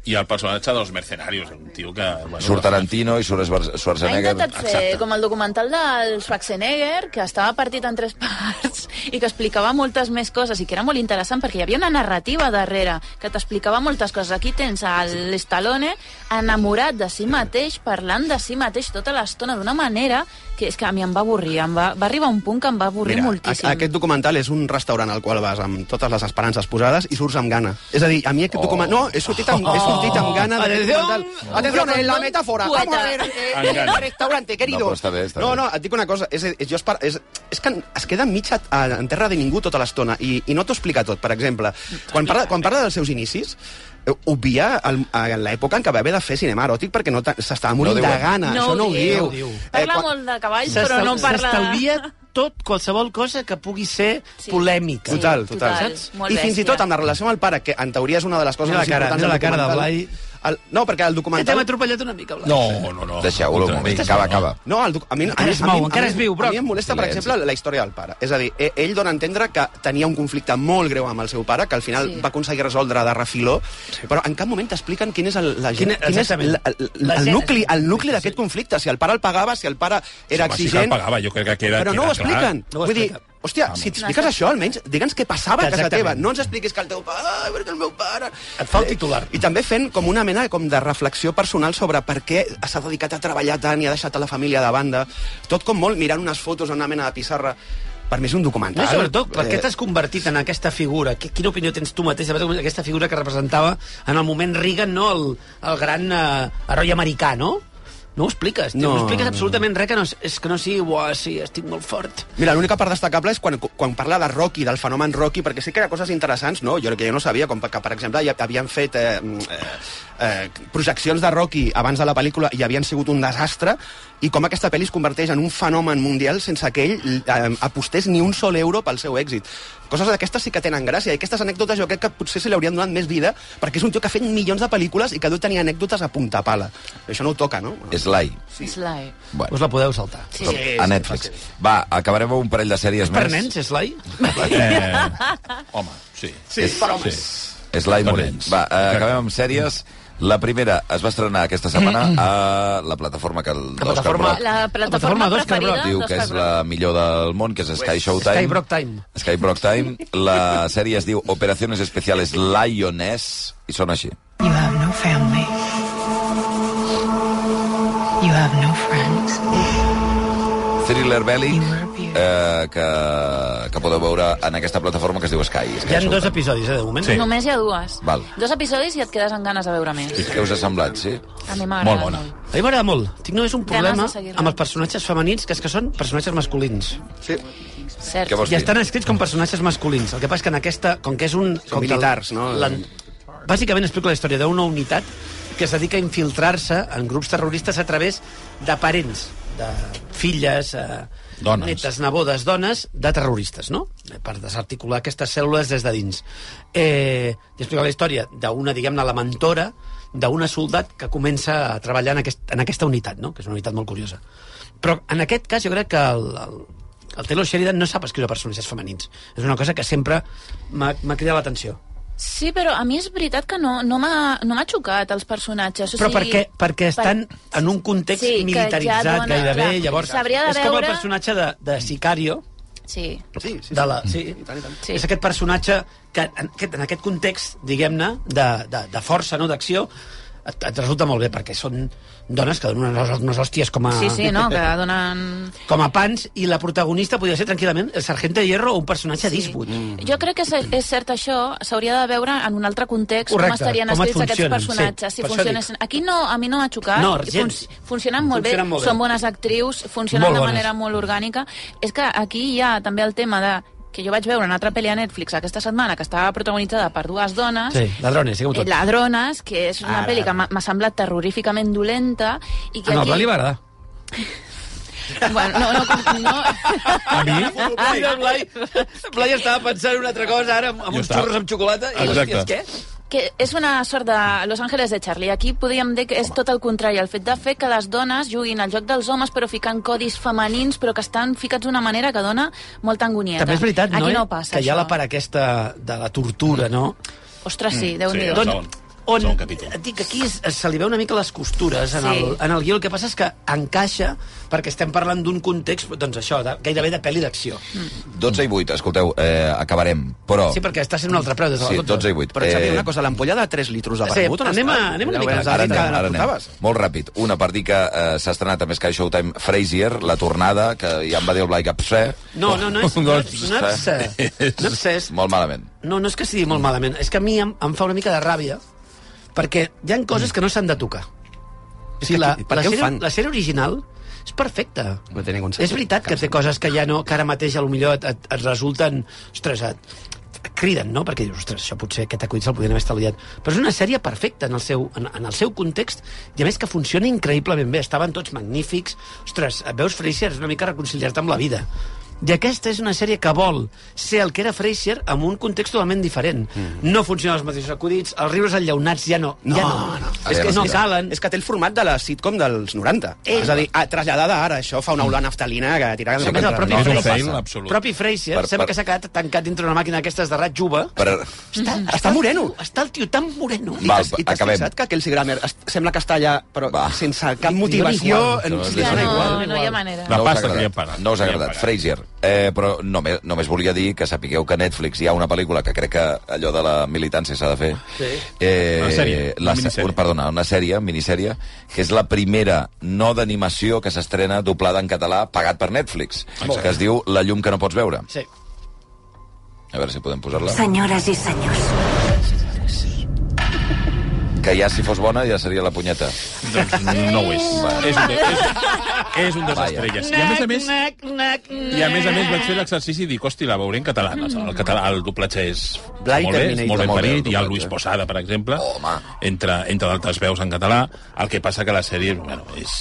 Speaker 1: i el personatge dels mercenarios, un tio que... Bueno,
Speaker 5: Surt Tarantino i surt Schwar-
Speaker 6: Ha
Speaker 5: Schwarzenegger.
Speaker 6: intentat fer com el documental del Schwarzenegger, que estava partit en tres parts i que explicava moltes més coses i que era molt interessant perquè hi havia una narrativa darrere que t'explicava moltes coses. Aquí tens el Stallone enamorat de si mateix, parlant de si mateix tota l'estona d'una manera que és que a mi em va avorrir, em va, va arribar un punt que em va avorrir
Speaker 3: Mira,
Speaker 6: moltíssim.
Speaker 3: a- Aquest documental és un restaurant al qual vas amb totes les esperances posades i surts amb gana. És a dir, a mi aquest
Speaker 5: Oh.
Speaker 3: documental... No, he sortit amb, he sortit amb gana d'aquest
Speaker 2: Atención.
Speaker 3: documental. Atención, en la metàfora.
Speaker 6: Poeta.
Speaker 3: Vamos a ver.
Speaker 1: Amb
Speaker 3: eh,
Speaker 1: gana.
Speaker 3: Restaurante, querido.
Speaker 5: No, però està bé, està
Speaker 3: No,
Speaker 5: bé.
Speaker 3: no, et dic una cosa. És, és, jo espero, és, és que es queda mig a, a, en terra de ningú tota l'estona i, i no t'ho explica tot. Per exemple, quan parla, quan parla dels seus inicis, eh, obvia el- a l'època en què va haver de fer cinema eròtic perquè no te- s'estava morint
Speaker 5: diuen.
Speaker 3: de gana. Això no ho diu.
Speaker 2: No ho diu.
Speaker 3: Eh,
Speaker 6: Parla
Speaker 3: quan-
Speaker 6: molt de cavalls,
Speaker 2: S'estal-
Speaker 6: però no parla...
Speaker 2: S'estalvia tot, qualsevol cosa que pugui ser
Speaker 6: Sí.
Speaker 2: polèmica.
Speaker 6: Sí.
Speaker 3: Total,
Speaker 6: total.
Speaker 3: total.
Speaker 6: Molt
Speaker 3: I fins i
Speaker 6: bèstia.
Speaker 3: tot amb la relació amb el pare, que en teoria és una de les coses
Speaker 2: Mira la
Speaker 3: més
Speaker 2: cara,
Speaker 3: importants
Speaker 2: mira
Speaker 3: del
Speaker 2: la cara de
Speaker 3: documental. El, no, perquè
Speaker 2: Ja
Speaker 3: el
Speaker 2: t'hem
Speaker 3: documental...
Speaker 2: atropellat una mica, Blas.
Speaker 1: No, no, no.
Speaker 5: Deixeu-lo un moment. Acaba, acaba.
Speaker 3: No, el doc... a mi, a
Speaker 2: Encara
Speaker 3: mi-
Speaker 2: es
Speaker 3: a mi-
Speaker 2: mou,
Speaker 3: a
Speaker 2: encara
Speaker 3: mi-
Speaker 2: es viu, Broc.
Speaker 3: A mi em molesta, per
Speaker 5: Silenci.
Speaker 3: exemple, la història del pare. És a dir, e- ell dona a entendre que tenia un conflicte molt greu amb el seu pare, que al final
Speaker 6: Sí.
Speaker 3: va aconseguir resoldre de refiló, però en cap moment t'expliquen quin és el, la,
Speaker 2: Quina-
Speaker 3: quin, quin és
Speaker 2: e- exactament.
Speaker 3: la, el,
Speaker 2: La
Speaker 3: el,
Speaker 2: gent-
Speaker 3: nucli, el nucli d'aquest conflicte. Si el pare el pagava, si el pare era
Speaker 1: Home, sí que el
Speaker 3: exigent...
Speaker 1: pagava, jo crec que queda-
Speaker 3: Però no
Speaker 1: queda
Speaker 3: ho expliquen.
Speaker 2: clar. No ho
Speaker 3: Vull dir,
Speaker 2: expliquen.
Speaker 3: hòstia, si t'expliques això, almenys, digue'ns què passava a casa
Speaker 2: Exactament.
Speaker 3: teva. No ens expliquis que el teu pare... Ai, perquè el meu pare...
Speaker 2: Et fa el titular.
Speaker 3: I també fent com una mena com de reflexió personal sobre per què s'ha dedicat a treballar tant i ha deixat a la família de banda. Tot com molt mirant unes fotos en una mena de pissarra. Per mi és un
Speaker 2: No,
Speaker 3: documental. Eh,
Speaker 2: i sobretot, per què t'has convertit en aquesta figura? Qui- Quina opinió tens tu mateix sobre aquesta figura que representava en el moment Reagan, no? El, el gran eh, heroi americà, no? No ho expliques, tio, no,
Speaker 3: No,
Speaker 2: no expliques
Speaker 3: no.
Speaker 2: absolutament res que no, és que no sigui, uah, sí, estic molt fort.
Speaker 3: Mira, l'única part destacable és quan, quan parla de Rocky, del fenomen Rocky, perquè sí que hi ha coses interessants, no? Jo que jo no sabia, com que, per exemple, ja havien fet eh, eh, eh, projeccions de Rocky abans de la pel·lícula i havien sigut un desastre, i com aquesta pel·li es converteix en un fenomen mundial sense que ell eh, apostés ni un sol euro pel seu èxit. Coses d'aquestes sí que tenen gràcia, i aquestes anècdotes jo crec que potser se li haurien donat més vida, perquè és un tio que ha fet milions de pel·lícules i que deu tenir anècdotes a punta pala. Això no ho toca, no?
Speaker 5: És l'AI.
Speaker 6: És la-
Speaker 5: Bueno,
Speaker 2: Us la podeu saltar.
Speaker 6: Sí.
Speaker 5: a Netflix. Va, acabarem amb un parell de sèries
Speaker 2: Per
Speaker 5: més.
Speaker 2: nens, és l'ai?
Speaker 1: Eh, home, sí.
Speaker 5: Sí, és, per homes. És l'Ai Morell. Va, eh, acabem amb sèries. La primera es va estrenar aquesta setmana a la plataforma que el d'Òscar
Speaker 2: plataforma-
Speaker 5: Brock
Speaker 6: La plataforma
Speaker 2: plataforma d'Òscar
Speaker 6: preferida
Speaker 5: diu que
Speaker 6: d'Òscar
Speaker 5: és la millor del món, que és Sky Showtime.
Speaker 2: Sky Brock Time.
Speaker 5: Sky Brock Time. La sèrie es diu Operaciones Especiales Lioness, i són així.
Speaker 9: You have no family. You have no friends.
Speaker 5: Thriller Belly, eh, que, que podeu veure en aquesta plataforma que es diu Sky. Sky
Speaker 2: Hi ha dos
Speaker 5: Showtime.
Speaker 2: episodis, eh, de moment.
Speaker 5: Sí.
Speaker 6: Només hi ha dues.
Speaker 5: Val.
Speaker 6: Dos episodis i et quedes amb ganes de veure més.
Speaker 5: I Què us ha semblat, sí?
Speaker 6: A mi m'agrada
Speaker 5: Molt bona.
Speaker 2: A mi m'agrada molt. Tinc només un problema
Speaker 6: de seguir-la.
Speaker 2: amb els personatges femenins, que és que són personatges masculins.
Speaker 6: molt. Cert.
Speaker 5: Què vols
Speaker 2: I
Speaker 5: dir?
Speaker 2: estan escrits com personatges masculins. El que passa és que en aquesta, com que és un... Com que el-
Speaker 3: militars, no?
Speaker 2: l'an- Bàsicament explica la història d'una unitat que es dedica a infiltrar-se en grups terroristes a través de parents, de filles, eh,
Speaker 1: Dones.
Speaker 2: netes, nebodes, dones, de terroristes, no? Eh, Per desarticular aquestes cèl·lules des de dins. Eh, I explica la història d'una, diguem-ne, la mentora d'una soldat que comença a treballar en, aquest, en aquesta unitat, no? que és una unitat molt curiosa. Però en aquest cas jo crec que el, el, el Taylor Sheridan no sap escriure personatges femenins. És una cosa que sempre m'ha m'ha cridat l'atenció.
Speaker 6: Sí, però a mi és veritat que no, no m'ha no m'ha xocat els personatges. O
Speaker 2: Però
Speaker 6: sigui,
Speaker 2: perquè, perquè estan en un context
Speaker 6: Sí, que ja
Speaker 2: militaritzat
Speaker 6: dona-
Speaker 2: gairebé,
Speaker 6: clar,
Speaker 2: llavors
Speaker 6: s'hauria de
Speaker 2: és com el
Speaker 6: veure-
Speaker 2: personatge de, de Sicario,
Speaker 6: Sí.
Speaker 3: Sí, sí, sí.
Speaker 2: de la, sí,
Speaker 3: I tant, i tant.
Speaker 6: Sí.
Speaker 2: és aquest personatge que en aquest, en aquest context, diguem-ne, de, de, de força, no d'acció, et, et, resulta molt bé, perquè són dones que donen unes, unes hòsties
Speaker 5: Ah.
Speaker 2: com a...
Speaker 6: Sí, sí, no, que donen...
Speaker 2: com a pans, i la protagonista podria ser tranquil·lament el sergent de Hierro o un personatge sí. d'Eastwood.
Speaker 3: Mm.
Speaker 6: Mm. Jo crec que és, és cert això, s'hauria de veure en un altre context
Speaker 2: Correcte,
Speaker 6: com estarien
Speaker 2: com et
Speaker 6: escrits aquests
Speaker 2: funcionen,
Speaker 6: personatges,
Speaker 2: sí,
Speaker 6: si
Speaker 2: per això
Speaker 6: funcionessin. Aquí no, a mi no m'ha xocat,
Speaker 2: No, gens.
Speaker 6: funcionen molt
Speaker 2: Funcionen
Speaker 6: bé,
Speaker 2: molt bé.
Speaker 6: són bones actrius, funcionen
Speaker 2: Molt
Speaker 6: de
Speaker 2: bones.
Speaker 6: manera molt orgànica. És que aquí hi ha també el tema de que jo vaig veure una altra pel·li a Netflix aquesta setmana que estava protagonitzada per dues dones
Speaker 2: Sí, ladrones, digueu
Speaker 6: Eh,
Speaker 2: tot.
Speaker 6: Ladrones, que és una
Speaker 2: Ara.
Speaker 6: pel·li que m'ha m'ha semblat terroríficament dolenta i que
Speaker 2: Ah, no,
Speaker 6: aquí...
Speaker 2: però li va agradar.
Speaker 6: Bueno, no, no, com- no,
Speaker 1: A mi?
Speaker 2: Mira, Blai, Blai estava pensant en una altra cosa, ara, amb, amb
Speaker 1: Jo
Speaker 2: uns
Speaker 1: estava-
Speaker 2: xurros amb xocolata, i
Speaker 1: Exacte.
Speaker 2: hòsties, què?
Speaker 6: que és una sort de Los Angeles de Charlie. Aquí podríem dir que és tot el contrari, el fet de fer que les dones juguin al joc dels homes però ficant codis femenins però que estan ficats d'una manera que dona molta angonieta.
Speaker 2: També és veritat,
Speaker 6: Aquí
Speaker 2: no,
Speaker 6: no passa
Speaker 2: que hi ha la
Speaker 6: això.
Speaker 2: part aquesta de la tortura, no?
Speaker 6: Ostres, sí, déu nhi
Speaker 1: Sí,
Speaker 6: do
Speaker 1: el
Speaker 2: D'on-
Speaker 1: segon,
Speaker 2: on,
Speaker 1: segon capítol.
Speaker 2: et dic que aquí es, es- se li veu una mica les costures en,
Speaker 6: Sí.
Speaker 2: el, en el guió, el que passa és que encaixa perquè estem parlant d'un context, doncs això, de, gairebé de pel·li d'acció.
Speaker 5: 12 i 8, escolteu, eh, acabarem. Però...
Speaker 2: Sí, perquè està sent un altre preu des de
Speaker 5: Sí,
Speaker 2: les
Speaker 5: 12 i 8.
Speaker 3: Però, Xavi,
Speaker 5: Eh,
Speaker 3: una cosa, l'ampolla de 3 litros de
Speaker 2: Sí,
Speaker 3: vermut... on
Speaker 2: anem
Speaker 3: està?
Speaker 2: a- anem una
Speaker 3: Ja ho
Speaker 2: mica
Speaker 3: veus,
Speaker 2: més
Speaker 3: ara
Speaker 5: Ara
Speaker 2: enrere,
Speaker 3: anem,
Speaker 5: anem,
Speaker 3: ara
Speaker 5: ara anem.
Speaker 3: portaves.
Speaker 5: Molt ràpid. Una per dir que eh, s'ha estrenat amb Sky Showtime Frasier, La Tornada, que ja em va dir el Blai que... pse,
Speaker 2: No, no, no és, no, és- no, és, eh, no, és,
Speaker 5: Molt malament.
Speaker 2: no, no és que sigui molt malament, és que a mi em, em fa una mica de ràbia, perquè hi han coses que no s'han de tocar. O sigui, la,
Speaker 3: Mm. que- per
Speaker 2: la,
Speaker 3: què ho
Speaker 2: sèrie,
Speaker 3: fan?
Speaker 2: la sèrie original és perfecta.
Speaker 3: No té ningú sentit.
Speaker 2: És veritat que té coses que ja no, que ara mateix a lo millor et, et, et resulten... Ostres, et, et criden, no? Perquè dius, ostres, això potser aquest acudit se'l podrien haver estalviat. Però és una sèrie perfecta en el, seu, en, en el seu context i a més que funciona increïblement bé. Estaven tots magnífics. Ostres, veus Frasier, és una mica reconciliar-te amb la vida. I aquesta és una sèrie que vol ser el que era Frasier amb un context totalment diferent. Mm. No funcionen els mateixos acudits, els riures enllaunats ja no. ja no.
Speaker 5: A
Speaker 2: És
Speaker 5: veure,
Speaker 2: que no
Speaker 5: mira.
Speaker 2: calen.
Speaker 3: És que té el format de la sitcom dels 90.
Speaker 5: Eh,
Speaker 3: És a dir, a, traslladada ara, això fa una olor a naftalina que tira...
Speaker 5: Sí,
Speaker 3: cap
Speaker 5: però
Speaker 3: enrere.
Speaker 2: el propi
Speaker 1: és un
Speaker 2: Frasier.
Speaker 1: fail absolut.
Speaker 2: Propi Fraser,
Speaker 5: Per-
Speaker 2: per, sembla
Speaker 5: per-
Speaker 2: que s'ha quedat tancat dintre una màquina d'aquestes de rat jove.
Speaker 5: Per...
Speaker 2: Mm. Està,
Speaker 3: està moreno.
Speaker 2: Està el tio tan moreno.
Speaker 3: I
Speaker 5: Va,
Speaker 3: t'has- I t'has
Speaker 5: acabem.
Speaker 3: fixat que Kelsey Grammer es- sembla que està allà, però
Speaker 5: Va.
Speaker 3: sense cap motivació...
Speaker 5: igual.
Speaker 3: en-
Speaker 5: No,
Speaker 3: sí,
Speaker 5: li
Speaker 6: Ja
Speaker 3: dona
Speaker 5: dona
Speaker 3: igual.
Speaker 6: no, no hi ha manera.
Speaker 1: La
Speaker 5: us
Speaker 1: pasta
Speaker 5: ha agradat.
Speaker 1: que li han pagat.
Speaker 5: No us
Speaker 1: Que
Speaker 5: ha
Speaker 1: li han pagat.
Speaker 5: agradat. Frasier. Eh, però només, només volia dir que sapigueu que a Netflix hi ha una pel·lícula que crec que allò de la militància s'ha de fer. Sí. Eh,
Speaker 1: Una sèrie,
Speaker 5: La,
Speaker 1: una
Speaker 5: se-
Speaker 1: minissèrie.
Speaker 5: un- perdona, una sèrie, minissèrie, que és la primera no d'animació que s'estrena doblada en català pagat per Netflix, que es diu La llum que no pots veure.
Speaker 2: Sí.
Speaker 5: A veure si podem posar-la.
Speaker 9: Senyores i senyors.
Speaker 5: Que ja, si fos bona, ja seria la punyeta.
Speaker 1: Doncs no ho és. És un, de- és, és un dos
Speaker 5: Vaja.
Speaker 1: estrelles. I a més a més,
Speaker 2: Nac, nac, nac,
Speaker 1: i a més, a més vaig fer l'exercici i dic, hosti, la veuré en català. El, català, el doblatge és
Speaker 3: Blai
Speaker 1: molt bé, és molt
Speaker 3: Terminator.
Speaker 1: ben
Speaker 5: Molt bé, el
Speaker 1: parit. Hi ha el
Speaker 5: doblatge.
Speaker 1: Luis Posada, per exemple,
Speaker 5: Home.
Speaker 1: entre, entre d'altres veus en català. El que passa que la sèrie, bueno, és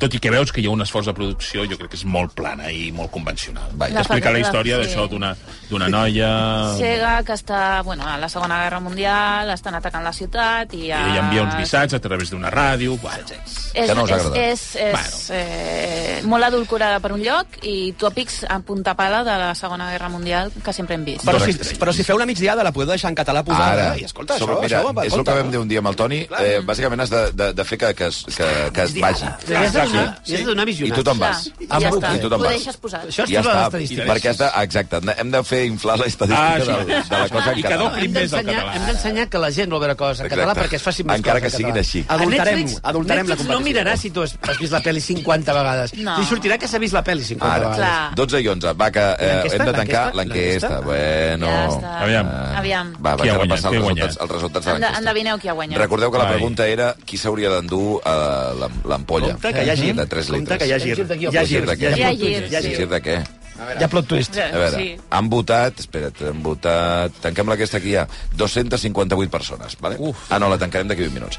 Speaker 1: Tot i que veus que hi ha un esforç de producció, jo crec que és molt plana i molt convencional.
Speaker 6: Vaja.
Speaker 1: Explica la
Speaker 6: La
Speaker 1: història
Speaker 6: fotografia.
Speaker 1: d'això d'una d'una noia...
Speaker 6: Sega, que està bueno, a la Segona Guerra Mundial, estan atacant la ciutat i... Ja...
Speaker 1: Ell envia uns missatges a través d'una ràdio... Bueno,
Speaker 6: És,
Speaker 1: que no us
Speaker 6: és,
Speaker 1: agrada.
Speaker 6: és, és eh, molt adulcorada per un lloc i tòpics en punta pala de la Segona Guerra Mundial que sempre hem vist.
Speaker 3: Però si, però si feu la migdiada la podeu deixar en català posada.
Speaker 5: Ara,
Speaker 3: I escolta,
Speaker 5: sobre-
Speaker 3: això,
Speaker 5: mira,
Speaker 3: això va,
Speaker 5: és el que vam dir un dia amb el Toni. Eh, bàsicament has de, de, de fer que, que, es- que, que es vagi.
Speaker 2: Li has de donar,
Speaker 5: Exacte.
Speaker 2: li has de donar
Speaker 5: I
Speaker 2: visionats.
Speaker 5: tu te'n vas. Ah,
Speaker 6: I ja està.
Speaker 5: I tu te'n
Speaker 6: Ho
Speaker 5: vas.
Speaker 6: deixes posat.
Speaker 2: Això és
Speaker 5: ja
Speaker 2: tota
Speaker 5: està,
Speaker 2: l'estadística.
Speaker 5: perquè has de, exacte, hem de fer inflar la estadística
Speaker 1: Ah,
Speaker 5: ah,
Speaker 1: sí.
Speaker 5: sí. de, de la cosa en
Speaker 1: I que
Speaker 5: català.
Speaker 1: doblin més el
Speaker 2: Ensenyar-
Speaker 1: català.
Speaker 2: Hem d'ensenyar que la gent vol veure coses en
Speaker 5: Exacte.
Speaker 2: català perquè es facin més
Speaker 5: Encara
Speaker 2: coses
Speaker 5: que
Speaker 2: en
Speaker 5: siguin
Speaker 2: català.
Speaker 5: així.
Speaker 2: A
Speaker 3: Adultarem-
Speaker 2: Netflix,
Speaker 3: adultarem la
Speaker 2: Netflix no
Speaker 3: competició.
Speaker 2: mirarà si tu has, has vist la pel·li 50 vegades.
Speaker 6: No.
Speaker 2: Li sortirà que s'ha vist la pel·li 50
Speaker 5: Ara,
Speaker 2: vegades.
Speaker 6: Clar.
Speaker 5: 12 i 11. Va, que eh,
Speaker 3: L'enquesta?
Speaker 5: hem de tancar
Speaker 3: L'enquesta?
Speaker 5: l'enquesta. Bueno...
Speaker 6: Ja està.
Speaker 1: Aviam.
Speaker 6: Aviam.
Speaker 5: Va,
Speaker 1: Qui
Speaker 5: vaig
Speaker 1: ha guanyat?
Speaker 5: a repassar
Speaker 1: Qui ha
Speaker 5: els
Speaker 1: guanyat?
Speaker 5: resultats, els resultats de
Speaker 6: Enda-
Speaker 5: l'enquesta.
Speaker 6: Endevineu qui ha guanyat.
Speaker 5: Recordeu que la
Speaker 1: Ai.
Speaker 5: pregunta era qui s'hauria d'endur eh, l'am- l'ampolla.
Speaker 3: Compte que hi ha gir.
Speaker 5: De 3
Speaker 3: Compte
Speaker 5: litres.
Speaker 3: que hi ha gir.
Speaker 2: Gir d'aquí o
Speaker 3: Hi ha
Speaker 5: gir
Speaker 3: gir.
Speaker 5: d'aquí?
Speaker 3: Hi ha
Speaker 6: Hi ha
Speaker 3: gir.
Speaker 6: gir.
Speaker 3: Hi ha gir.
Speaker 5: Gir de què?
Speaker 2: Hi ha plot twist.
Speaker 6: Sí.
Speaker 5: A veure, sí.
Speaker 6: Eh, Sí.
Speaker 5: han votat... Espera't, han votat... Tanquem l'enquesta aquí ja. 258 persones, vale? Uf. Ah, no, la tancarem d'aquí 20 minuts.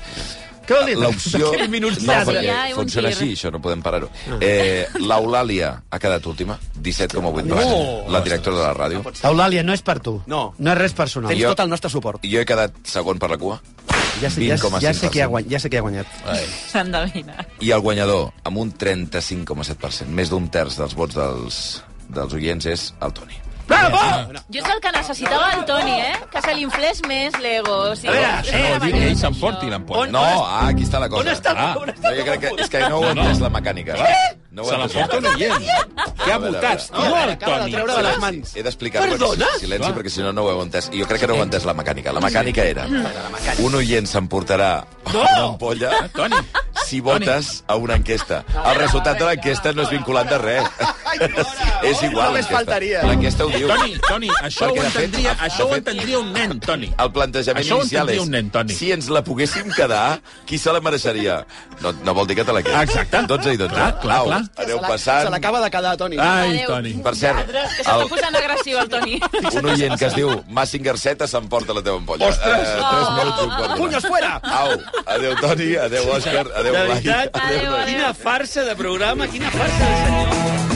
Speaker 2: Què vol dir?
Speaker 5: L'opció...
Speaker 2: Quin minuts
Speaker 5: no,
Speaker 2: ja,
Speaker 5: perquè
Speaker 6: ja, i un
Speaker 5: funciona
Speaker 6: gir.
Speaker 5: així, això no podem parar-ho. Eh, L'Eulàlia ha quedat última, 17,8%. Oh. La directora de la ràdio.
Speaker 2: Eulàlia, no és per tu.
Speaker 3: No.
Speaker 2: No és res personal.
Speaker 3: Tens
Speaker 5: Jo-
Speaker 3: tot el nostre suport.
Speaker 5: Jo he quedat segon per la cua.
Speaker 3: Ja sé, ja, ja, sé
Speaker 5: 20,5%.
Speaker 3: qui ha guanyat, ja sé qui ha guanyat.
Speaker 5: Ai.
Speaker 6: S'ha endevinat.
Speaker 5: I el guanyador, amb un 35,7%, més d'un terç dels vots dels, dels oients, és el Toni.
Speaker 2: Bravo!
Speaker 6: Jo és el que necessitava el Toni, eh? Que se li inflés més l'ego. O sigui, eh,
Speaker 2: A veure,
Speaker 1: Ah,
Speaker 2: eh,
Speaker 6: això no
Speaker 1: No, diu
Speaker 6: era valent,
Speaker 1: que ell
Speaker 6: això.
Speaker 1: s'emporti l'ampolla.
Speaker 5: No, ah, aquí està la cosa.
Speaker 2: On està?
Speaker 1: Ah.
Speaker 2: On està?
Speaker 5: No, jo crec que, és que no ho
Speaker 1: No,
Speaker 5: he
Speaker 1: no.
Speaker 5: entès, la mecànica. No ho he
Speaker 1: Se
Speaker 5: entès.
Speaker 1: l'emporta un oient. Que ha
Speaker 5: A veure, a
Speaker 1: votat.
Speaker 5: veure.
Speaker 1: No, el Toni.
Speaker 3: treure de les mans.
Speaker 5: He d'explicar... bueno,
Speaker 2: Perdona?
Speaker 5: si- Silenci, perquè si no, no ho heu entès. I jo crec que no heu entès la mecànica. La mecànica era... Un oient s'emportarà una ampolla
Speaker 1: Ah, Toni.
Speaker 5: si votes a una enquesta. El resultat de l'enquesta no és vinculant de res. És igual.
Speaker 3: Només
Speaker 5: l'enquesta.
Speaker 3: faltaria.
Speaker 5: L'enquesta ho diu.
Speaker 1: Toni, Toni, això
Speaker 5: Perquè,
Speaker 1: ho
Speaker 5: de fet,
Speaker 1: entendria,
Speaker 5: de
Speaker 1: això ho
Speaker 5: fet,
Speaker 1: entendria un nen, Toni.
Speaker 5: El plantejament
Speaker 1: Això ho
Speaker 5: inicial
Speaker 1: entendria
Speaker 5: és...
Speaker 1: un nen, Toni.
Speaker 5: Si ens la poguéssim quedar, qui se la mereixeria? No, no vol dir que te la quedis.
Speaker 1: Exacte.
Speaker 5: 12 i 12.
Speaker 1: Clar, clar,
Speaker 5: Au,
Speaker 1: clar.
Speaker 5: Aneu passant.
Speaker 3: Se l'acaba de quedar, Toni.
Speaker 1: Ai,
Speaker 6: Adéu.
Speaker 1: Toni.
Speaker 5: Per cert,
Speaker 6: Ostres, que s'està
Speaker 5: el-
Speaker 6: posant agressiu, el Toni.
Speaker 5: un oient que es diu Massinger Garceta s'emporta la teva ampolla. Ostres! Eh, tres minuts i un quart.
Speaker 3: Punyos fuera!
Speaker 5: Au, adeu, Toni, adeu, Òscar, adeu, Blai.
Speaker 6: Adéu, adéu.
Speaker 2: farsa de programa, quina farsa de senyor.